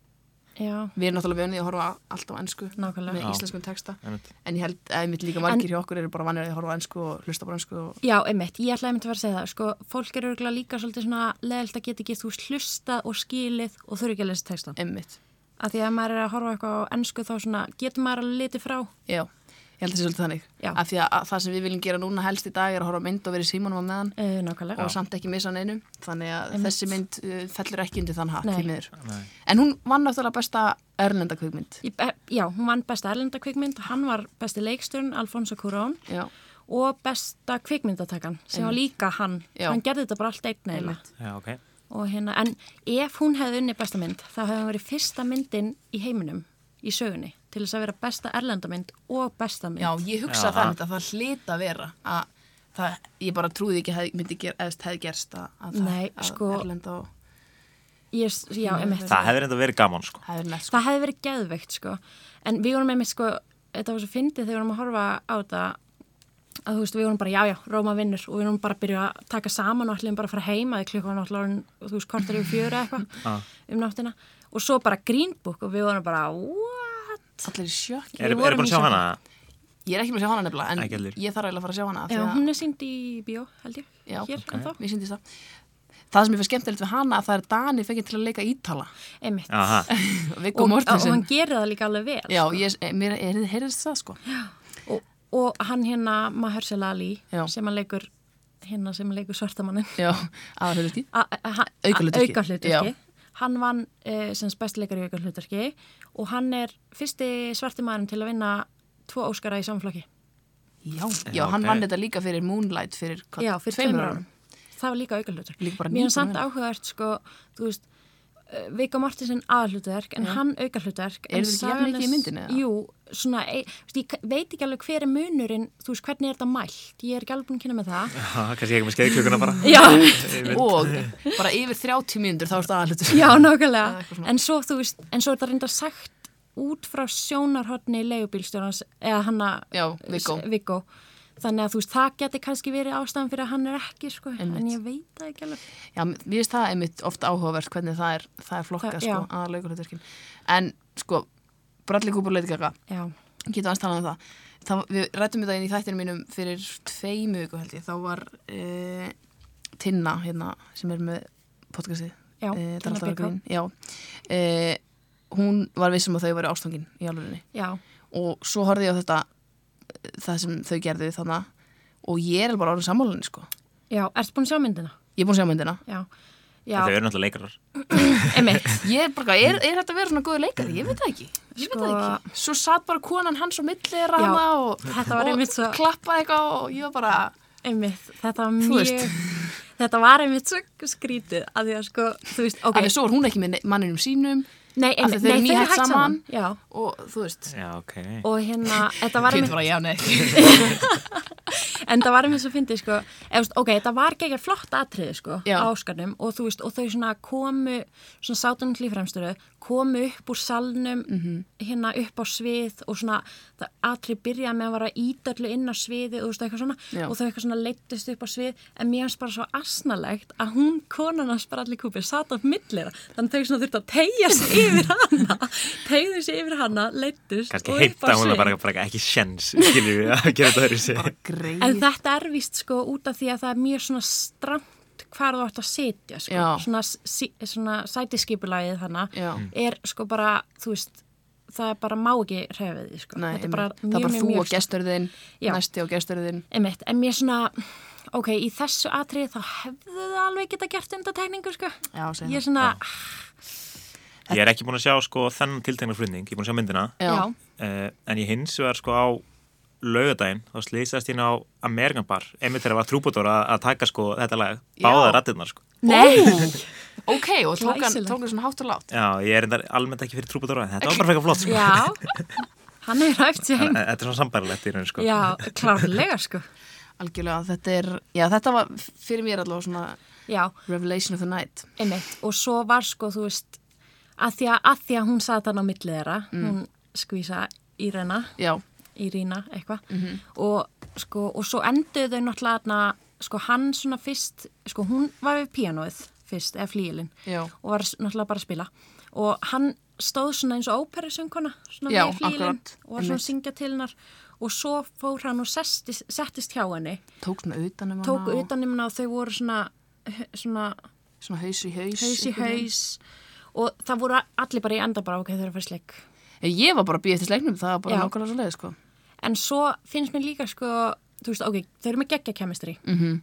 já,
Við erum náttúrulega vönið að horfa allt á ensku
Nákvæmlega.
með
Já.
íslenskum texta
Einmitt.
en ég held að einmitt líka margir hjá okkur eru bara vanir að horfa á ensku og hlusta bara á ensku og...
já, einmitt, ég ætlaði einmitt að vera að segja það, sko, fólk eru örgulega líka svolítið svona leðilt að geta ekki þú slustað og skilið og þurfi ekki að lesa textan.
einmitt
að því að maður er að horfa eitthvað á ennsku þá svona getur maður alveg litið frá
Já, ég held að það sé svolítið þannig
Já.
af því að að það sem við viljum gera núna helst í dag er að horfa á mynd og vera í símanum á meðan
uh, nákvæmlega
og samt ekki missa hann einum þannig að þessi mynd uh, fellur ekki undir þann hatt
Nei.
því miður En hún vann náttúrulega besta erlenda kvikmynd
Í- eh, Já, hún vann besta erlenda kvikmynd hann var besti leikstjörn, Alfonso Cuarón
Já,
og besta kvikmyndatakan sem var
Einmitt.
líka hann,
Já.
hann gerði þetta bara allt einn eiginlega
Já, ok.
og hérna, en ef hún hefði unni besta mynd, þá hefði hún verið fyrsta myndin í heiminum, í sögunni til þess að vera besta erlendamynd og besta mynd
Já, ég hugsa
Já.
þannig að það hlita að vera að það, ég bara trúði ekki að það myndi ger, eðst, hefði gerst að, að það-
Nei,
að
sko-
Erlenda og
ég, já einmitt.
Það hefði reynda verið gaman, sko.
það er næst sko.
Það hefði verið geðveikt sko. En við vorum einmitt sko, þetta var svo fyndið þegar við vorum að horfa á þetta að þú veist, við vorum bara, já, já, Róma vinnur og við vorum bara að byrja að taka saman og ætlum bara að fara heima eða klukkan alltaf orðin, þú veist, kortar yfir fjöru eða
Ah.
eitthvað um náttina og svo bara Green Book og við vorum bara, what?
Allir í sjokki.
Er, er
vorum
búin að
í
sjá
sjokki.
hana?
Ég er ekki með að sjá hana nefnilega, en
Ekki heldur.
ég þarf eiginlega að fara að sjá hana. af því
Já,
að-
hún er sínd í bíó, held ég,
Já,
hér
ok.
okay. en þá.
Mér syndist það. Það sem ég fyrir skemmtilegt við hana að það er Dani fengið til að leika Ítala.
Einmitt.
Aha.
Viggo
Og, og, hann
Mortensen.
gerir það líka alveg vel.
Já, ég, eh, mér er, heyrðist það sko.
Og, og hann hérna, Mahershala Ali,
Já.
sem hann leikur, hérna sem hann leikur svartamannin.
Já, aðhörðu Aukahlutverki.
aukahlutverki hann vann uh, sem bestileikar í aukahlutverki og hann er fyrsti svarti maðurinn til að vinna tvo óskara í samflokki
Já, já,
Já,
hann
ok.
vann þetta líka fyrir Moonlight fyrir, hvað,
Já, fyrir tveimur árum það var líka aukahlutverk
Líka bara
mér er
19
samt
ára.
áhugavert sko, þú veist Vika Mortensen aðhlutverk en hann aukahlutverk
Eru þeir ekki jafn mikið í myndinni, eða?
Jú, svona, e, þú veist, ég veit ekki alveg hver er munurinn, þú veist, hvernig er þetta mælt ég er ekki alveg búin að kynna með það
Aha, kannski ekki með skeiðklukuna bara.
Já,
Og bara yfir 30 mínútur þá er þetta aðhlutur.
Já,
Eða eitthvað
nákvæmlega.
svona.
En svo, þú veist, en svo er þetta reynda sagt út frá sjónarhotni leigubílstjórnans, eða hanna
Já, Viggó.
Viggó. Þannig að þú veist, það geti kannski verið ástæðan fyrir að hann er ekki, sko,
Einmitt.
en ég veit það ekki alveg.
Já, mér finnst það einmitt ofta áhugavert hvernig það er, það er flokkað
Það- já.
sko, að laukurhætturkin. En sko, Bradley Cooper leiti kaka,
Já,
getur aðeins talað um það. það við rættum þetta inn í þættinu mínum fyrir tveimu viku held ég, þá var e, Tinna hérna sem er með podcastið.
Já,
eh,
Tinna
þetta er alltaf að
Björk.
grín, Já, e, hún var vissum að þau væri ástangin í alvörinni
já,
og svo horfði ég á þetta, eh, það sem þau gerðu þannig og ég er bara orðin sammálinni sko.
já, ertu búin að sjá myndina?
Ég er búin að sjá myndina.
Já,
Þau
já,
eru náttúrulega leikarar.
emitt.
Ég er bara, er, er þetta að vera svona góður leikari? Ég veit það ekki. Ég veit það
Sko-
ekki. Svo satt bara konan hans og millir
Já,
rana og,
þetta var
og
einmitt svo-
klappaði eitthvað og ég var bara,
Einmitt, þetta var
Þú veist.
mjög, þetta var einmitt svo skrítið að því að sko, þú veist, ok,
okay. en svo er hún ekki með ne- manninum sínum
nei,
af því
einmitt,
þau eru
nei, þau eru
nýhætt
hægt saman,
saman.
já,
og þú veist,
Já, ok.
og hérna, þetta var
Kate bara já, nei.
En það var mér svo fyndið sko, eða, þú veist, ok, það var ekki flott atriði sko
Já.
á Óskarnum og þú veist, og þau svona komu, svona sátunum til í fremstöru, komu upp úr salnum,
Mhm.
hérna upp á svið og svona það atrið byrjaði með að vara ídöllu inn á sviði og þú veist, eitthvað svona
Já.
og þau eitthvað svona leittist upp á svið en mér hans bara svo asnalegt að hún konan hans bara allir kúpið sat á millera þannig þau svona þurfti að tegja sig yfir hana, tegðu sig yfir hana, leittist
Kannski
og upp á
heita hún
svið.
bara, bara ekki sjens, skiljum við að gera þetta öðru sig.
Greið.
En þetta er víst sko út af því að það er mjög svona stramt hvar þú ætti að sitja sko.
Já.
svona, sí, svona sætiskipulagið þarna
Já.
er sko bara þú veist, það er bara má ekki hrefið því sko,
Nei,
þetta er bara
einmitt.
mjög,
það er bara
mjög,
þú
mjög
og gesturðin,
Já.
næsti og gesturðin.
einmitt, en mér svona, ok, í þessu atrið þá hefðu þau alveg geta gert undatekningu sko,
Já, segðu það.
ég er svona
Ég er ekki búin að sjá sko þennan tiltegna flutning, ég er búin að sjá myndina.
Já.
Já.
Uh, en ég hins vegar sko á laugardaginn, þá slýsast ég inn á Amerikan Bar, einmitt þegar var trúbútor að að taka sko þetta lag, báða
Já.
rattirnar sko.
Nei,
Ok, og tókan,
Glæsilegt.
tókan svona hátt og látt.
Já, ég er endar almennt ekki fyrir trúbútor en þetta var bara frekar flott sko.
já hann er ræft
En,
sem
eh, Þetta er svona sambærilegt í raun sko.
Já, klárlega sko
Algjörlega, þetta er, já, þetta var fyrir mér allavega svona
Já,
revelation of the night.
Einmitt, og svo var sko, þú veist, að því að, að, því að hún satt hann á millið þeirra,
Mm.
hún skvísa Írena,
Já,
Írína, eitthvað,
Mhm.
og sko, og svo enduðu þau náttúrulega þarna, sko, hann svona fyrst, sko, hún var við píanóið fyrst, eða flíilinn,
Já.
og var s- náttúrulega bara að spila, og hann stóð svona eins og óperusönguna, svona
Já,
við flíilinn,
akkurat,
og var svona að
einmitt.
syngja til hennar, og svo fór hann og sestist, settist hjá henni,
tók svona utan um
tók
hana og
utan um hana og þau voru svona, svona,
svona haus í haus.
haus í
einhvern veginn.
haus og það voru allir bara í enda bara ok, þau eru að fara í sleik
Ég var bara að býja eftir sleiknum, það var bara
Já.
nákvæmlega svo leið, sko.
en svo finnst mér líka sko þú veist, ok, þau eru með geggja kemistri mm
Mhm.
-hmm.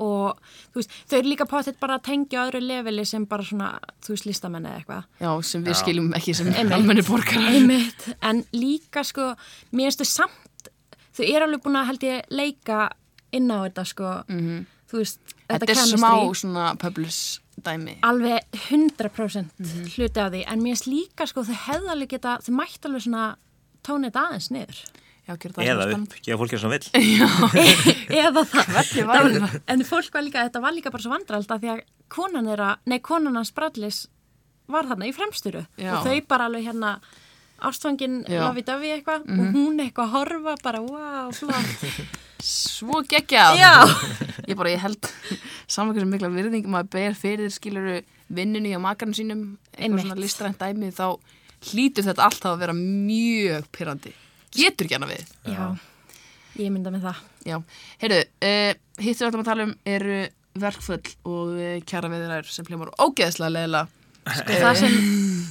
og þú veist, þau eru líka potið bara að tengja á öðru leveli sem bara svona, þú veist, listamenn eða eitthvað
Já, sem við skiljum ekki sem almenni borgarar.
einmitt, en líka sko, mér finnst þau samt þau eru alveg búin að held ég leika inn á þetta sko þú veist,
Mhm. Þetta,
þetta
er
chemistry-
smá svona Publis dæmi.
alveg 100%
Mhm.
hluti af því, en mér finnst líka sko, þau hefði alveg geta, þau mætti alveg svona tóna þetta aðeins niður
Já, gera það
Eða
svona
upp,
spennandi.
gefa fólki sem vill.
eða það,
Hvernig var hérna.
Það
þetta?
en fólk var líka, þetta var líka bara svo vandrald að því að konan er að, nei konan hans Bradlis var þarna í fremsturu
Já.
og þau bara alveg hérna ástfangin
Já. Mhm.
Lavi Davi eitthvað og hún eitthvað að horfa bara, wow, flott
Svo geggjað.
Já.
Ég bara, ég held saman hversu mikla virðing maður ber fyrir skiluru vinnunni og makarinn sínum eitthvað
Einmitt.
svona listrænt dæmi þá hlýtur þetta alltaf að vera mjög pyrrandi. Getur ekki hana við.
já, ég mynda með það
Já, heyrðu, uh, hitt við ætlum að tala um eru verkfull og uh, kjara viðræður sem hljómar ógeðslega leila
sko, það sem,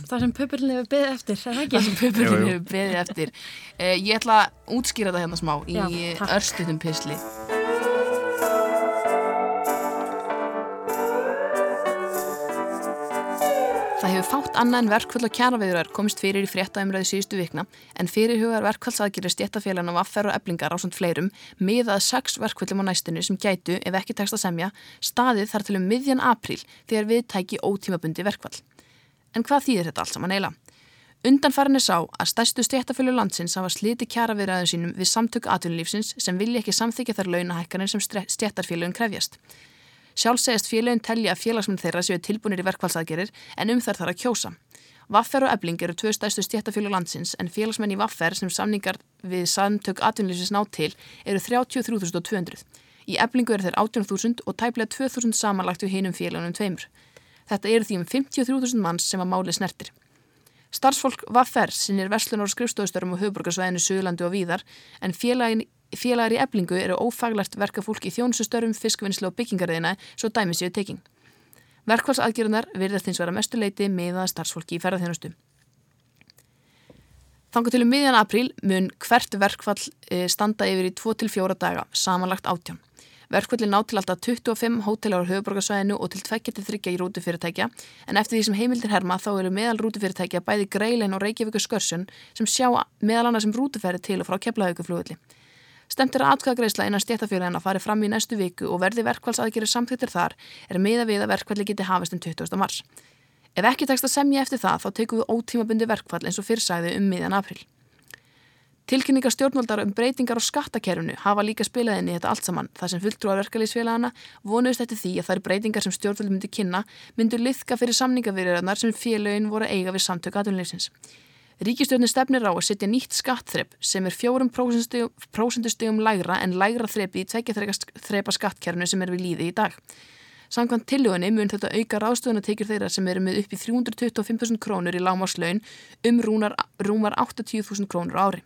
það sem pöpulinn hefur beðið eftir, er það
Eh. það
ekki?
sem pöpurinn
Jú, jú.
hefur beðið eftir. Uh, ég ætla að útskýra þetta hérna smá
Já,
í
takk.
örstutum pisli. Það hefur fátt annað en verkfall og kjaraviðurar komist fyrir í fréttaumræði síðustu vikna en fyrirhugaðar verkfallsaðgerið stjættafélagna vaffer og eblingar á svont fleirum miðað sex verkfallum á næstinu sem gætu, ef ekki tekst að semja, staðið þar til um miðjan apríl þegar við tæki ótímabundi verkfall. En hvað þýðir þetta allt saman eila? Undanfærin er sá að stærstu stjættafélug landsins hafa sliti kjaraviðræðum sínum við samtök atvinnulífsins sem vilja ekki samþykja þar launahækkanir sem stjættarfélugum krefjast. Sjálf segist félögin telja að félagsmenn þeirra séu tilbúinir í verkfallsaðgerir en um þær þarf að kjósa. Vaffer og Ebling eru tvö stærstu stjættafélög landsins en félagsmenn í Vaffer sem samningar við samtök atvinnlýsins ná til eru 33.200. Í Eblingu eru þeir 18.000 og tæplega 2.000 samanlagt við hinum félagunum tveimur. Þetta eru því um 53.000 manns sem að máli snertir. Starfsfólk Vaffer sinnir verslunar og skrifstofustörfum á höfburgarsvæðinu Suðurlandi og Víðar en félagin, félagar í eblingu eru ófaglegt verka fólk í þjónustustörfum, fiskvinnslu og byggingarðina svo dæmi séu tekin. Verkvælsaðgerðunar virðast hins vera mestuleiti með að starfsfólki í ferðarþjónustu. Þangar til um miðjan apríl mun hvert verkfall eh, standa yfir í 2-4 daga, samanlagt átján. Verkfallin ná til alltaf 25 hótelar á höfuborgarsvæðinu og til 2-3 í rútufyrirtækja, en eftir því sem heimildir herma þá eru meðal rútufyrirtækja bæði Greilin og Reykjavíkur Skörsjön sem sjá meðal annars sem rútufæri til og frá Keflavíkuflugulli. Stemt er að atkvæðagreisla innan stéttafélagina fari fram í næstu viku og verði verkvallsaðgerið samþýttir þar er meða við að verkvalli geti hafist um 20. mars. Ef ekki tekst að semja eftir það þá tekum við ótímabundi verkvall eins og fyrrsæði um miðjan april. Tilkynningar stjórnvaldar um breytingar á skattakerfinu hafa líka spilað inn í þetta allt saman þar sem fulltrúar verkalýsfélagana vonuðist eftir því að þær breytingar sem stjórnvald myndi kynna myndu liðka fyrir samningavirðarnar sem félögin voru að eiga við samtöku aðunleysins. Ríkistjórnin stefnir á að setja nýtt skattþrepp sem er 4% prósendustegum lægra en lægra þreppi í tvekja þrepa skattkerfinu sem er við líði í dag. Samkvæmt tillögunni mun þetta auka ráðstöðunatekjur þeirra sem eru með upp í 325.000 krónur í lágmáslaun um rúnar, rúmar 80.000 krónur á ári.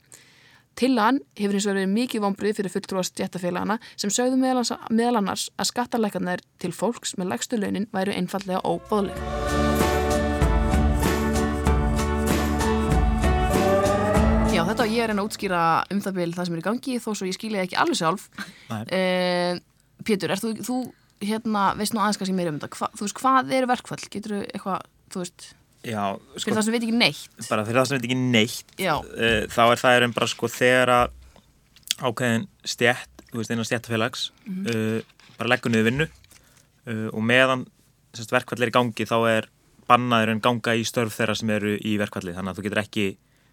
Tillagan hefur hins vegar verið mikið vombrið fyrir fulltrúar stjættafélagana sem sögðu meðal ans- meðal annars að skattalækarnar til fólks með lægstu launin væru einfallega óbóðleg. Já, þetta var ég að reyna að útskýra um það bil það sem er í gangi þó svo ég skilja ekki alveg sjálf.
Nei.
Eh, Pétur, er þú, þú hérna, veist nú aðeins kannski meira um þetta, Hva, þú veist, hvað er verkfall? Getur þú eitthvað, þú veist,
Já, sko,
fyrir það sem veit ekki neitt?
bara fyrir það sem þetta ekki neitt,
Já,
uh, þá er það er bara sko þegar að ákveðin stjætt, þú veist, innan stjættafélags, uh, bara leggur niður vinnu uh, og meðan sérst, verkvall er í gangi þá er bannaður en ganga í störf þeirra sem eru í verkvalli, þannig að þú getur ekki,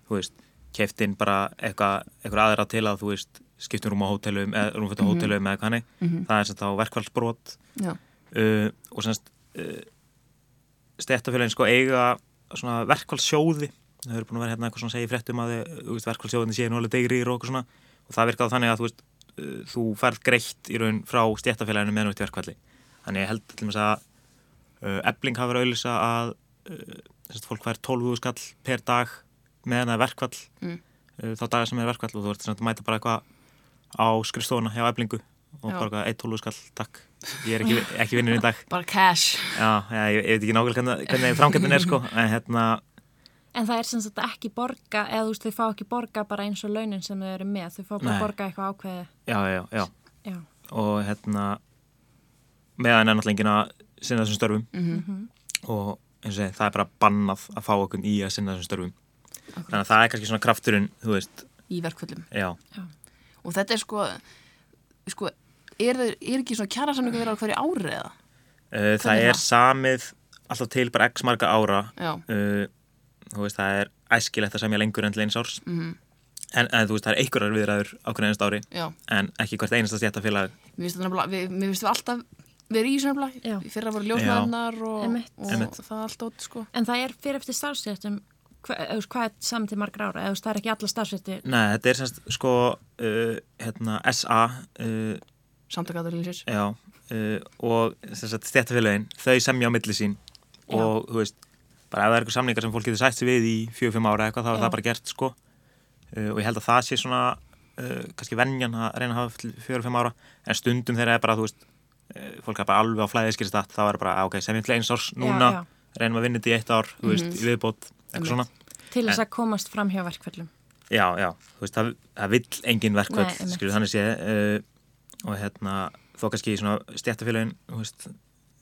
þú veist, keift inn bara eitthvað, eitthvað aðra til að, þú veist, skiptum rúm á hótelum, eða rúmfættu á hótelum eða hvað hannig, það er sérst þá verkvallsbrot
já,
uh, og semst uh, stættafélagin sko eiga svona verkvælsjóði það hefur búin að vera hérna eitthvað svona að segja í fréttum að uh, verkvælsjóðin séu nú alveg degrir og okkur svona og það virkaði þannig að þú veist uh, þú ferð greitt í raun frá stjættafélaginu meðan út í verkvælli þannig ég held til dæmis að uh, ebling hafa verið að auðlýsa að uh, semst, fólk fær 12 skall per dag meðan það er verkvall
Mm.
uh, þá dagar sem er verkvall og þú ert semst að mæta bara eitthvað á skrifstofuna hjá eblingu og
Já.
bara eitthvað 1-12 skall, takk ég er ekki, ekki vinnur í dag
bara cash.
Já, já ég, ég veit ekki nákvæmlega hvernig- hvernig framkvæmdin er sko, en hérna,
en það er sem sagt ekki borga eða þú veist, þau fá ekki borga bara eins og launin sem þau eru með, þau fá bara
Nei.
borga eitthvað ákveði
já, já, já,
já,
og hérna, meðan er náttúrulega enginn að sinna þessum störfum og eins og segi, það er bara bannað að fá okkur í að sinna þessum störfum. Þannig að það er kannski svona krafturinn, þú veist,
Í verkfallum.
já,
já.
og þetta er sko, sko er, þeir- er ekki svona kjara samningu verið á hverju ári eða?
Uh, það
Hvernig
er
það?
samið alltaf til bara x marga ára
Já.
uh, þú veist, það er æskilegt að semja lengur enn til eins árs -hmm. en, en þú veist, það er einhverjar viðræður á hverju einasta ári
Mhm. Já.
en ekki hvert einasta stjættafélag
Mér finnst þetta nefnilega- við- mér finnst við alltaf verið í svona
Já.
nefnilega, fyrra voru ljósmaðurnar og,
Einmitt.
og
Einmitt.
það allt ótt sko.
En það er fyrir eftir starfsréttum, hva, eða, þú veist, hvað er samt til margra ára, eða þú veist, það er ekki alla starfsrétti.
Nei, þetta er semst sko uh, hérna, SA uh,
Samtakaðurlýsir.
já, uh, og semst stjættafélagin þau semja á milli sín og þú veist, bara ef það er eitthvað samningar sem fólk getur sætt sig við í 4-5 ára eitthvað, þá er
Já.
það bara gert sko uh, og ég held að það sé svona uh, kannski venjan að reyna að hafa til 4-5 ára en stundum þeirra er bara, þú veist uh, fólk er bara alveg á flæðiskirist að þá er bara, "Ah, ok, semjum til eins árs núna
já. Mhm.
reynum að vinna þetta í eitt ár, þú veist, í viðbót eitthvað svona,
Til þess að komast fram hjá verkföllum.
já, já, þú veist það, það vill engin
Nei,
verkvöld,
einmitt.
skilur þannig sé uh, og hérna, þó kannski svona stjættafélagin, þú veist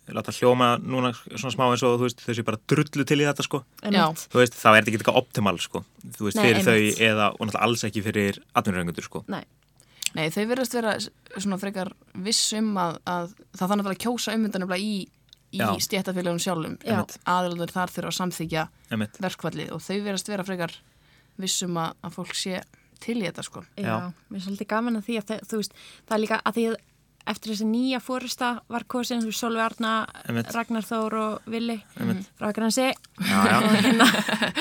láta hljóma núna svona smá eins og þú veist, þau séu bara drullu til í þetta sko
Já.
Einmitt.
þú veist, þá er þetta ekki eitthvað optimal sko, þú veist,
Nei,
fyrir
einmitt.
þau eða, og náttúrulega alls ekki fyrir atvinnuröngundur sko.
Nei,
Nei, þau verðast vera s- svona frekar vissum að, að það þannig að kjósa ummyndanum í, í
Já.
stjættafélagunum sjálfum.
Já.
Aðalundur þar þurfa að samþykja
Einmitt.
verkvallið og þau verðast vera frekar vissum að, að fólk sé til í þetta sko.
já.
Já.
Mér er svolítið gaman að því að það, þú veist, það er líka að því að eftir þessi nýja fórusta var kosin, þú veist, Solveig Arna,
Einmitt.
Ragnar Þór og Vili
Einmitt.
frá Gransi,
Já, já,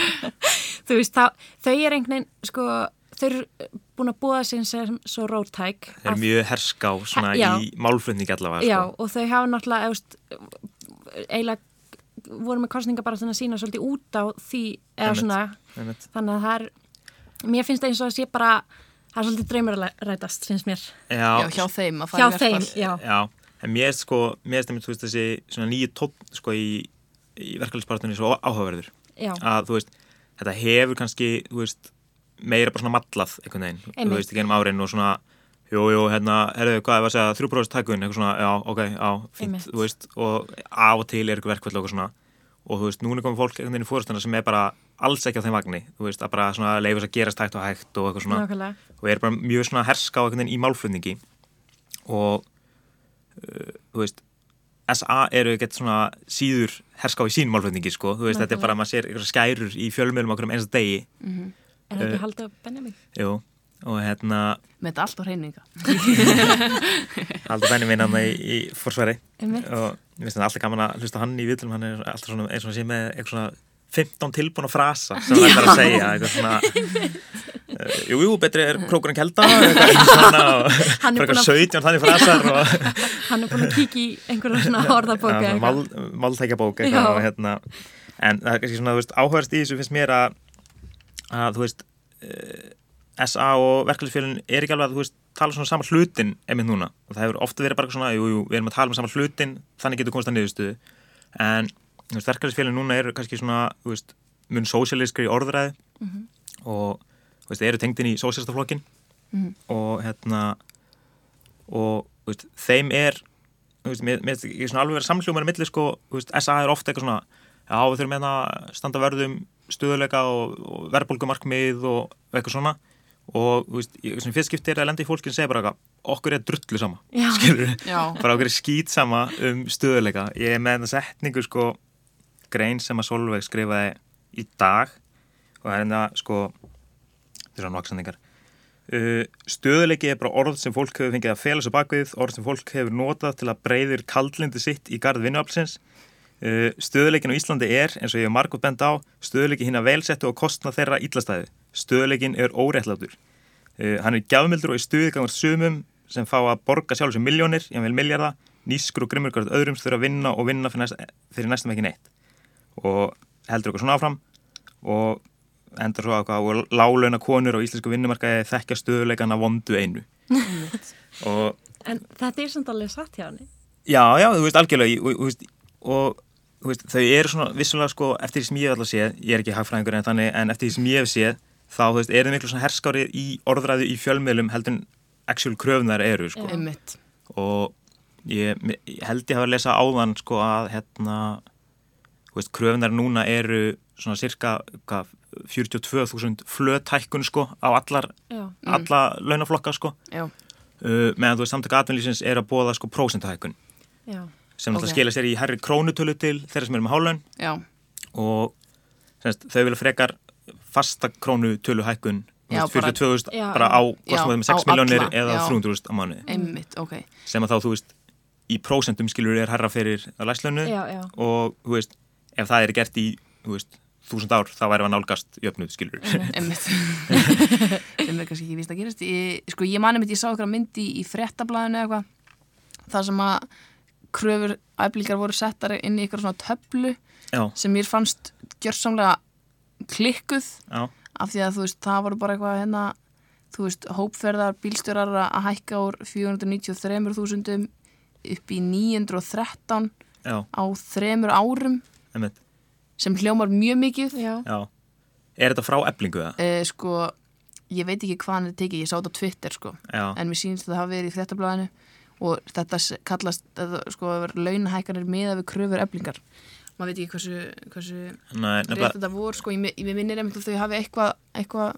þú veist, þá, þau er einhvern veginn, sko, þau eru búin að búa sig sem svo rótæk.
þeir eru
að-
mjög herská svona
He- já.
í málflutningi allavega sko.
Já, og þau hafa náttúrulega, eða, eiginlega voru með kostninga bara þannig að sína svolítið út á því, eða
Einmitt.
svona,
Einmitt.
þannig að það er, mér finnst það eins og það sé bara, það er svolítið draumur að rætast, finnst mér.
Já,
Já, hjá þeim að
Hjá
fara í
þeim,
verkvall.
já.
Já, en mér erst sko, mér erst einmitt, þú veist, þessi svona nýju tótt sko í, í verkefælispartunni svo áhugaverður.
Já.
Að, þú veist, þetta hefur kannski, þú veist, meira bara svona mallað einhvern veginn,
Einmitt.
þú veist, í gennum árin og svona, jú, jú, hérna, herðu, hvað er það að segja, þrjú bróðist tækun, eitthvað svona, já, ok, já, fínt,
Einmitt.
þú veist, og á og til er eitthvað verkefæll og eitthvað svona, og þú veist, núna komum fólk einhvern veginn í fórstana sem er bara alls ekki á þeim vagni, þú veist, að bara svona leifis að gerast hægt og hægt og eitthvað svona,
Nákvæmlega.
og er bara mjög svona herska á einhvern veginn í málflutningi og uh, þú veist SA eru ekkert svona síður herska á í sín málflutningi sko, þú veist, þetta er bara að maður sér einhverja skærur í fjölmjölum okkur um einsta degi
Er
Eh.
það ekki haldið að benja mig?
Jú, og hérna
Með þetta allt á hreininga.
Aldur Benjamin hann í, í forsværi
Einmitt.
og ég veist það er alltaf gaman að hlusta á hann í viðlum hann er alltaf svona eins og hann sé með eitthvað svona 15 tilbúna frasa sem hann verður að segja eitthvað svona eh, Jú, jú, betri er krókur en kelda eitthvað eitthvað svona og
Hann er
bara
búinn
eitthvað
að-
17 þannig frasar og
Hann er búin að kíkja í einhverja svona orðabóka
Já, svona mál,
eitthvað.
máltækjabók
Já.
eitthvað og hérna en það er kannski svona, þú veist, áhverst í þessu finnst mér að, að þú veist uh, SA og verkefælisfélun er ekki alveg að þú veist tala svona sama hlutin einmitt núna og það hefur ofta verið bara eitthvað svona, jú, jú, við erum að tala um sama hlutin þannig getur komast að niðurstöðu en þú veist, verkefælisfélun núna eru kannski svona þú veist, mun sósialískri orðræði
Mhm.
og þú veist, eru tengdin í sósialistaflokkin og hérna og þú veist, þeim er þú veist, mér, mér, ég er svona alveg verið samhljómar í milli sko, þú veist, SA er ofta eitthvað svona já, við þurfum hérna að standa vörðum stöðuleika og, og verðbólgumarkmið og eitthvað svona og þú veist, ég, sem fyrst skiptir að lenda í fólkin segja bara eitthvað, okkur er drullu sama
Já.
skilur,
Já.
bara okkur er skýt sama um stöðuleika, ég er með þetta setningu sko, grein sem að Solveig skrifaði í dag og það er hérna sko þetta er hann vaksendingar Uh, stöðuleiki er bara orð sem fólk hefur fengið að fela svo bakvið, orð sem fólk hefur notað til að breyðir kaldlindi sitt í garð vinnuaflsins uh, stöðuleikin á Íslandi er, eins og ég hef margótt bent á stöðuleiki hinn að velsettu og kostna þeirra illastæði, stöðuleikin er óréttlátur uh, hann er gjafmildur og í stuðgangar sumum sem fá að borga sjálf sem miljónir, ég vil miljarda nýskur og grimmur hvert öðrum þurfa að vinna og vinna fyrir, næst, fyrir næstum ekki neitt og heldur okkur svona áfram og endar svo ákvað og lálauna konur á íslensku vinnumarkaði þekkja stöðuleikan að vondu einu og
En þetta er samt alveg satt hjá henni.
já, já, þú veist algjörlega og, og, og þú veist, þau eru svona vissulega sko eftir því sem ég hef alltaf séð ég er ekki hagfræðingur en þannig en eftir því sem ég hef séð þá þú veist, eru þau miklu svona herskárið í orðræðu í fjölmiðlum heldur en actual kröfnar eru sko
Einmitt.
og ég, ég held ég hafa að lesa áðan sko að hérna þú veist, kröfunar núna eru svona cirka hvað, 42.000 flötækkun sko á allar,
Já.
Mm.
alla launaflokka sko
Já,
uh, meðan þú veist samtaka atvinnlýsins er að bóða sko prósentahækkun
Já.
sem náttúrulega
Ok.
skilja sér í herri krónutölu til þeirra sem eru með hálaun
já,
og semst, þau vilja frekar fasta krónutölu hækkun
Já, bara-
42.000
Já,
bara á
já,
kostum
á
6 miljónir
alla,
eða
já.
300.000 á mánuði
einmitt, ok.
sem að þá þú veist í prósentum skilur er herra fyrir læslönu
Já, já.
og þú veist ef það er gert í þú veist þúsund ár þá væri að nálgast jöfnuð skilur
Einmitt. Sem er kannski ekki víst að gerast. Ég, sko, ég mani mitt, ég sá ykkur myndi í frettablaðinu eða eitthvað, þar sem að kröfur æflingar voru settar inn í ykkur svona töflu
já,
sem mér fannst gjörsamlega klikkuð
já,
af því að þú veist, það voru bara eitthvað hérna, þú veist, hópferðar, bílstjórar að hækka úr 493.000 upp í 913
já,
á þremur árum
einmitt,
sem hljómar mjög mikið.
Já.
já er þetta frá eblingu það?
Eh, sko, ég veit ekki hvað hann er tekið, ég sá þetta á Twitter sko,
Já.
en mér sýnist að það hafi verið í fréttablaðinu og þetta s- kallast, þetta, sko, launahækkanir miða við kröfur eflingar. Maður veit ekki hversu, hversu
Nei,
rétt
nefnilega,
þetta voru, sko, ég, mi- ég minnir einmitt að þau hafi eitthvað, eitthvað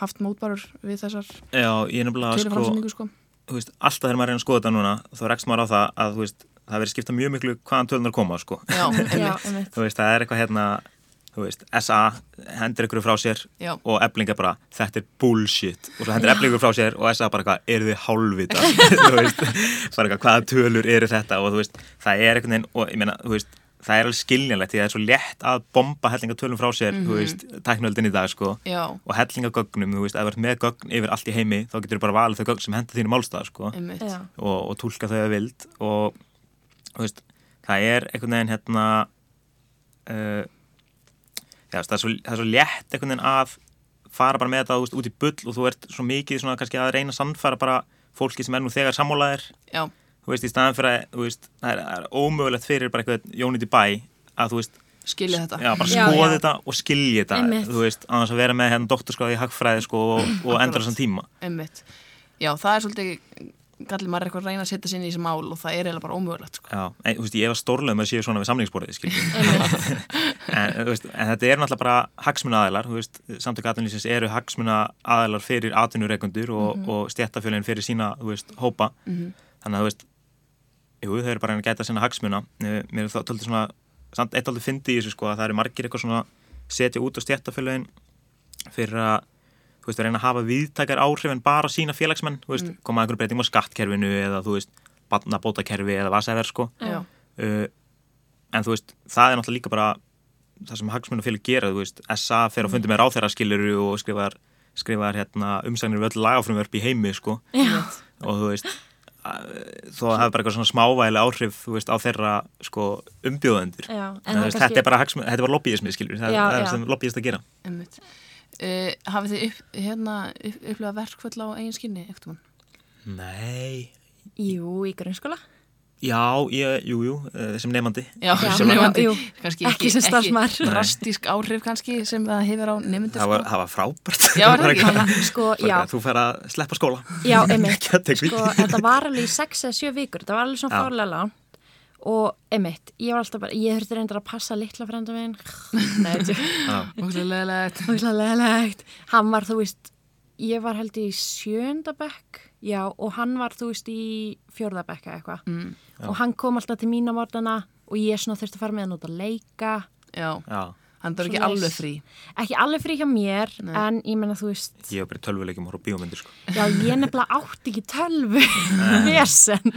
haft mótbarur við þessar
já, ég er nefnilega sko,
töluframsynningu, sko.
þú veist, alltaf þegar maður er að reyna að skoða þetta núna þá rekst maður á það að þú veist, það verið skipta mjög miklu hvaðan tölunar koma sko.
Já,
Já,
einmitt.
einmitt.
þú veist, það er eitthvað hérna þú veist, SA hendur ykkur frá sér
Já.
og eblinga bara, þetta er bullshit og svo hendur eblinga frá sér og SA bara eitthvað, eru þið hálfvita þú veist, bara eitthvað, hvaða tölur eru þetta og þú veist, það er einhvern veginn og ég meina, þú veist, það er alveg skiljanlegt því það er svo létt að bomba hellinga tölum frá sér þú veist, tæknöldin í dag sko
Mhm. Já.
og hellinga gögnum, þú veist, ef þú ert með gögn yfir allt í heimi, þá getur þú bara valið þau gögn sem henda þínu málstað sko
einmitt.
Já.
og, og tólka þau að vild og þú veist, það er einhvern veginn hérna uh, já, þú veist, það, er svo, það er svo létt einhvern veginn að fara bara með þetta þú veist, út í bull og þú ert svo mikið svona, kannski að reyna að samfara bara fólki sem er nú þegar sammálaðir
Já,
þú veist, í staðan fyrir að þú veist, það er, það er ómögulegt fyrir bara eitthvað jónit í bæ að þú veist
skilja þetta.
Já, bara
Já,
skoða
já.
þetta og skilja þetta
Einmitt.
þú veist, annars að vera með hérna doktorskráði í hagfræði sko og, og endra þessan tíma
Einmitt. Já, það er svolítið, gallið maður er eitthvað að reyna að setja sér inn í þessi mál og það er eiginlega bara ómögulegt, sko.
Já, en, þú veist, ég hefa stórlega með að séu svona við samlingsborðið, skiljum. en, þú veist, en þetta er náttúrulega bara hagsmuna aðilar, þú veist, samtök atvinnlýsins eru hagsmuna aðilar fyrir atvinnureikundur og, og stjættafjölinn fyrir sína, þú veist, hópa. Þannig að, þú veist, jú, þau eru bara að reyna að gæta sinna hagsmuna. Eh, Mér er þá tóldi svona, samt eitt aldrei fyndi í þessu, sko, að það eru margir eitthvað svona setja út á stjættafjölinn fyrir að þú veist, að reyna að hafa viðtakar áhrif en bara sína félagsmenn, þú veist, koma að einhverjum breytingum á skattkerfinu eða, þú veist, barnabótakerfi eða vasæver, sko
Já,
uh, en þú veist, það er náttúrulega líka bara það sem hagsmunafélag gera, þú veist SA
Mm.
fer að fundi með ráþæra skiluru og skrifar, skrifar hérna, umsagnir við öll lagafrumverfi í heimi, sko
einmitt.
og þú veist, að, þó að það hafi bara eitthvað svona smávægilega áhrif, þú veist, á þeirra sko, umbjóðendur
Já, en
en,
það
þú veist,
kannski-
þetta er bara, hagsmun, þetta er bara lobbyismi, skilur það,
Já,
það er
já.
sem lobbyist að gera
einmitt. Uh, hafið þið upp, hérna, upp, upplifað verkföll á eigin skinni, ekkert mann?
Nei
Jú, í grunnskóla.
Já, ég, jú, jú, eh, sem nefandi
Já,
Já,
sem nefndi,
jú.
kannski
Ekki sem starfsmaður.
Ekki drastísk áhrif kannski sem það hefur á nefndir,
það
sko.
var, það var frábært
Já, var það ekki?
Bara eitthvað-
Sko,
bara
já.
eitthvað, Þú fer að sleppa skóla
Já, einmitt.
Get ekki.
Sko, þetta var alveg í 6 eða 7 vikur, þetta var alveg svona
Já.
fárlega langt og einmitt, ég var alltaf bara, ég þurfti reyndar að passa litla frænda minn. Nei, þetta
Já.
Ógeðslega leiðilegt.
er ógeðslega leðilegt. Hann var, þú veist, ég var held í sjönda bekk, já, og hann var, þú veist, í fjórða bekk eða eitthvað. Mm, og hann kom alltaf til mína mórnana og ég svona þurfti að fara með hann út að leika.
Já,
Já,
hann þarf ekki
Svoleiðis.
alveg frí.
Ekki alveg frí hjá mér, en ég menna, þú veist,
ég hef bara tölvuleikjum og horf bíómyndir sko.
Já, ég nefnilega átti ekki tölvu vesen,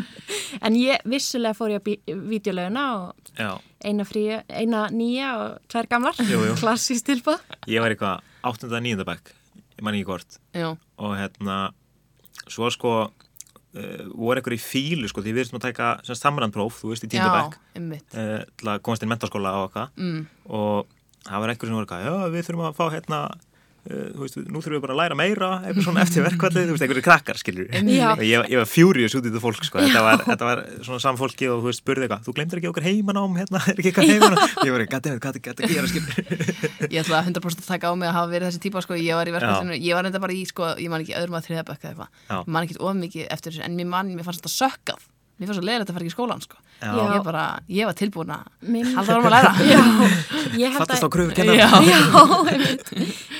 en ég vissulega fór ég á bí- vídeoleguna og
Já,
eina, fríu, eina nýja og tvær gamlar,
Jú, jú.
klassist tilbúð.
ég var eitthvað 8. að 9. bekk, ég man ekki hvort
Já,
og hérna svo sko uh, voru eitthvað í fílu sko, því við erum að taka sem sagt, samrandpróf, þú veist, í 10.
já,
bekk
einmitt.
uh, til að komast inn mentaskóla og eitthvað mm. og það var eitthvað sem voru eitthvað já, við þurfum að fá hérna uh, þú veist, nú þurfum við bara að læra meira eitthvað svona eftir verkvallið, þú veist, eitthvað krakkar skilur
Já.
og ég, ég var furious út í þetta fólk sko. þetta, var, þetta var svona samfólki og þú veist, spurði eitthvað þú glemtir ekki okkar heimanám, hérna, er ekki eitthvað heimanám ég var eitthvað, hvað er að gera skilur
Ég ætla að 100% að taka á mig að hafa verið þessi típa sko, ég var í verkefninu, ég var reynda bara í sko, ég man ekki öðrum að þriða bekka eða
Já.
eitthvað, ég man ekki of mikið eftir þessu, en mér man, mér fannst þetta sökkað mér fannst svo leiðilegt að fara ekki í skólan sko.
Já.
ég, bara, ég var tilbúin að
Minn-
halda varum að læra
Já, ég held
Fattast á
að
kröfur kennar
Já.
Já, einmitt.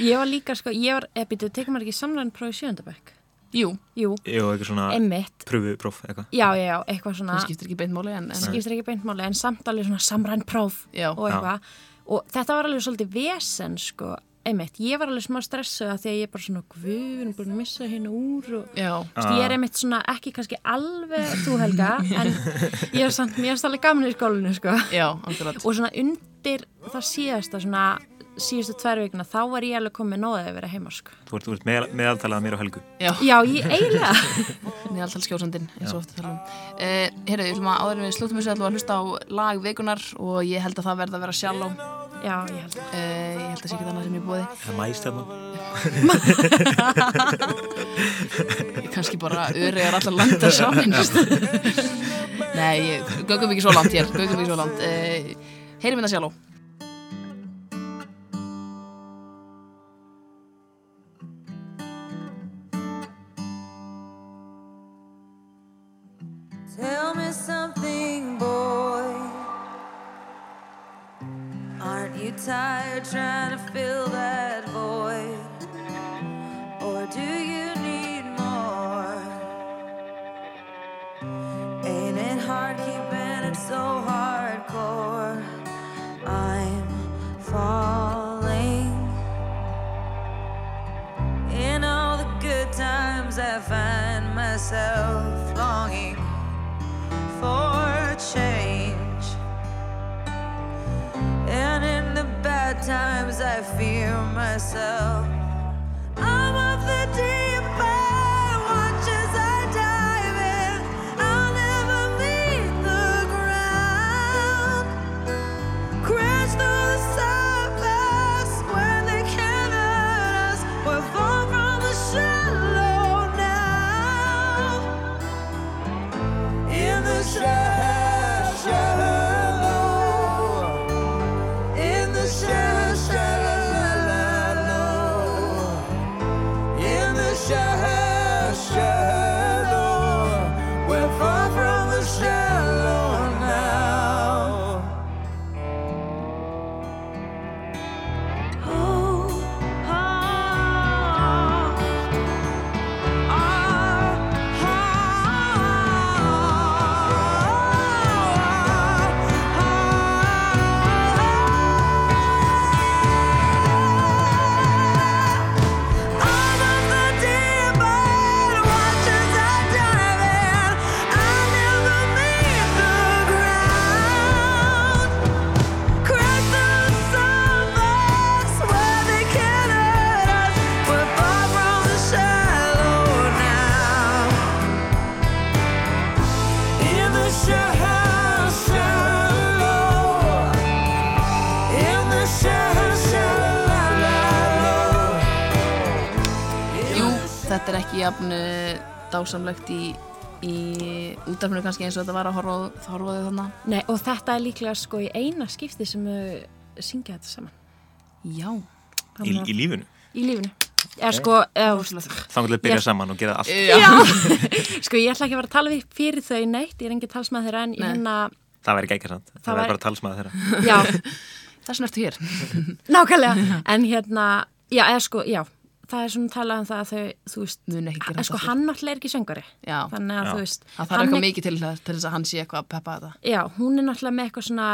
ég var líka sko, ég var, eða býtu, tekur maður ekki samræðan próf í sjöndabæk?
Jú,
Jú,
Jú, eitthvað svona
einmitt,
pröfu, próf, eitthvað
já, já, já, eitthvað svona,
það skiptir ekki beint máli en, en
skiptir ekki beintmáli, en samt alveg svona samræðan próf
Já.
og eitthvað. Og þetta var alveg svolítið vesen sko, einmitt, ég var alveg smá stressuð að því að ég bara svona, guðun, búin að missa hérna úr og...
já,
Þú veist, Ég er einmitt svona ekki kannski alveg þú Helga, en ég er samt mér stálega gaman í skólinu sko.
já, akkurat
Og svona undir það síðasta, svona síðustu tvær vikuna, þá var ég alveg komið nóðið að vera heima sko.
Þú ert, þú ert meðal, meðaltalað að mér og Helgu
Já,
Já, ég eiginlega.
neðaltal skjósandinn eins og ofta tala um uh, Herra, við ætlum að áður en við slúttum þessu ætlum við að hlusta á lag vikunar og ég held að það verða að vera sjálf uh,
Já, ég held að.
ég held að sé ekki annað sem ég búið
Það er hérna mæstefnum
kannski bara örygar allar landa saman Nei, ég- göngum ekki svo langt hér göngum ekki svo langt uh, Heyrim þetta sjálf
Tell me something, boy. Aren't you tired trying to fill that void? Or do you need more? Ain't it hard keeping it so hardcore? I'm falling. In all the good times, I find myself longing for change. And in the bad times, I fear myself. I'm of the deep end, watch as I dive in. I'll never leave the ground. Crash through the surface where they can't hurt us. We're far from the shallow now in the shallow, shallow, in the shallow, shallow, in the shallow, shallow. We're far from the shallow now. Oh, oh. Ground. Crash the surface where they can hurt us. We're far from the shallow now. In the shallow, shallow. In the shallow,
Jú,
shallow.
þetta er ekki jafn eh, dásamlegt í, í útarfinu kannski eins og þetta var að horfa á- þá horfaðu þannig.
Nei, og þetta er líklega sko í eina skipti sem þau syngja þetta saman.
Já.
í,
Þannig að-
í lífinu
Í lífinu. Eða sko, eða, þú veist,
Þá kannski að
Já.
byrja saman og gera allt
Já.
sko ég ætla ekki að vera að tala við fyrir þau neitt, ég er engin talsmað þeirra en
Nei.
hérna,
Það væri ekki ekki sant Það,
væri-
væri bara talsmaður þeirra
já,
Þess vegna ertu hér.
nákvæmlega. En hérna, já, eða sko, já, það er svona talað um það að þau, þú veist,
Mun ekki gera
En sko
þetta.
hann náttúrulega er ekki söngari
Já.
Þannig að
Já.
þú veist
Það þarf
hann
eitthvað
er-
mikið til, þess- til þess að hann sé eitthvað að peppa þetta.
Já, hún er náttúrulega með eitthvað svona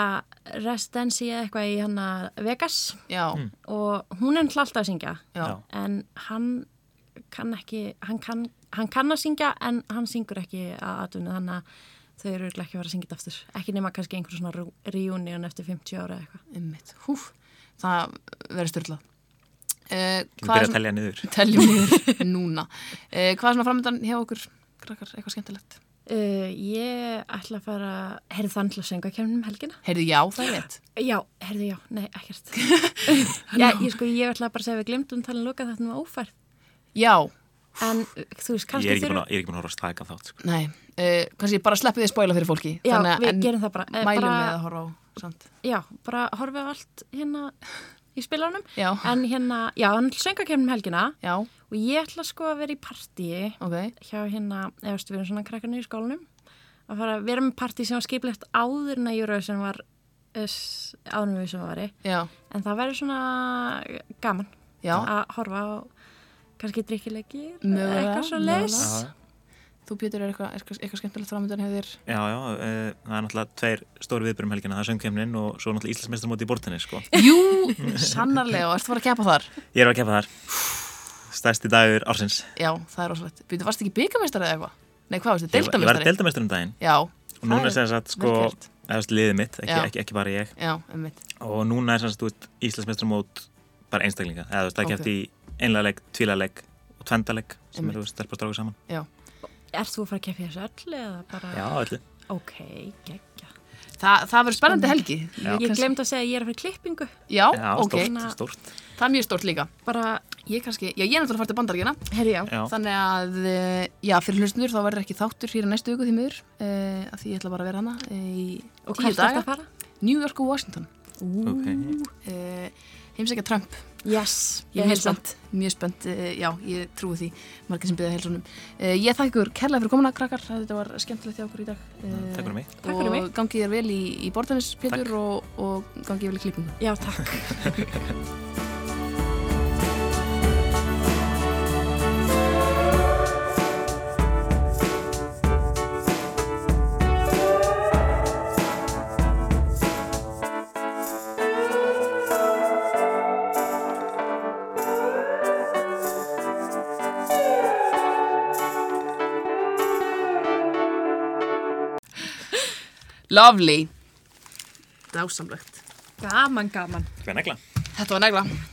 residency eða eitthvað í hann að Vegas
Já.
og hún er náttúrulega alltaf að syngja
Já.
Hmm, Já.
en hann kann ekki hann kann, hann kann að syngja en hann syngur ekki að atvinni þannig að þau eru örugglega ekki að vera að syngja þetta aftur ekki nema kannski einhver svona rú- reunion eftir 50 ára eða eitthvað
Einmitt. Húf. Það verður styrlað. Uh,
Við byrja að telja niður
Teljum niður núna. Uh, hvað er svona framöndan hjá okkur? Krakkar, eitthvað skemmtilegt.
uh, Ég ætla að fara heyrðu þann til að sönga kemnum um helgina
Heyrðu, já, það er rétt.
Já, heyrðu já, nei, ekkert Já, ég sko, ég ætla bara að segja að um við glemdum talin loka þetta var ófært
Já.
en uh, þú veist,
Ég
kannski
er ekki búin að, ég er ekki búin að horfa á stæka þátt sko.
Nei. Uh, kannski bara sleppi því að spoila fyrir fólki.
Já,
Þannig að-
við
en
gerum það bara. Eh,
Mælum
bara-
með að horfa á samt.
Já, bara horfið á allt hérna í spilanum
Já.
en hérna, já, hann söngakefnum helgina
Já,
og ég ætla sko að vera í partíi
ok.
hjá hérna, eða veist, við erum svona krakkarnir í skólanum að fara að vera með partí sem var skiplegt áður en að Eurovision var eh, s- áður en við sem var
Já,
en það væri svona gaman
Já.
að horfa á kannski drikkilegir
Mögulega,
eitthvað svo leis
mögulega. þú Pétur er eitthvað, eitthvað, eitthvað skemmtilegt framöndan hjá þér
Já, já, uh, það er náttúrulega tveir stóri viðbyrjum helgina, það er söngkemnin og svo náttúrulega Íslandsmeistar móti í bortinni, sko.
Jú, sannarlega, og ertu að fara að kepa þar
Ég er að kepa þar. Stærsti dagur ársins.
Já, það er rosalegt Býtu, varst ekki byggamestari eða eitthvað? Nei, hvað varstu,
Ég var- Ég var
deildameistari?
deildameistar um daginn
Já,
og núna er sem sagt, sko,
vel gert.
eða þú veist, liðið mitt, ekki,
Já.
ekki, ekki bara ég.
Já, emmitt
Og núna er sem sagt, þú veist, Íslandsmeistar mót bara einstaklinga, eða þú veist, það
Ok.
okay. í einlega leik, tvílega leik og tvenda leik sem
Einmitt.
eru stelpa stráku saman.
Erst þú að fara að keppa í þessu öll eða bara
Já, öllu.
ok, geggja
Þa, Það verður spennandi helgi
Já.
Ég
kannski-
glemd að segja að ég er að fara í klippingu
Já,
Já,
ok,
stórt, stórt.
það er mjög stórt líka
bara,
Ég kannski, já, ég er náttúrulega að fara til bandaríkina
herri já,
Já.
Þannig að, eh, já, fyrir hlustundur þá verður ekki þáttur fyrir næstu viku því miður uh, að því ég ætla bara að vera hana uh, í tíu
og hvað er þetta að
daga
fara?
New York og Washington
Ok.
uh, Heimsækja Trump
Yes,
Ég er
ég
mjög
heilsa
spennt, mjög spennt, eh, já, ég trúi því, margir sem byrja heilsunum. Eh, Ég þakka ykkur kærlega fyrir komuna, krakkar, þetta var skemmtilegt hjá okkur í dag. Eh,
Takk fyrir mig.
Takk fyrir
Og
mig.
gangi þér vel í, í bortanis, Pétur, og, og gangi ég vel í klippingu.
Já, takk
Lovely. Dásamlegt.
Gaman, gaman
Hvernig negla?
Þetta var negla.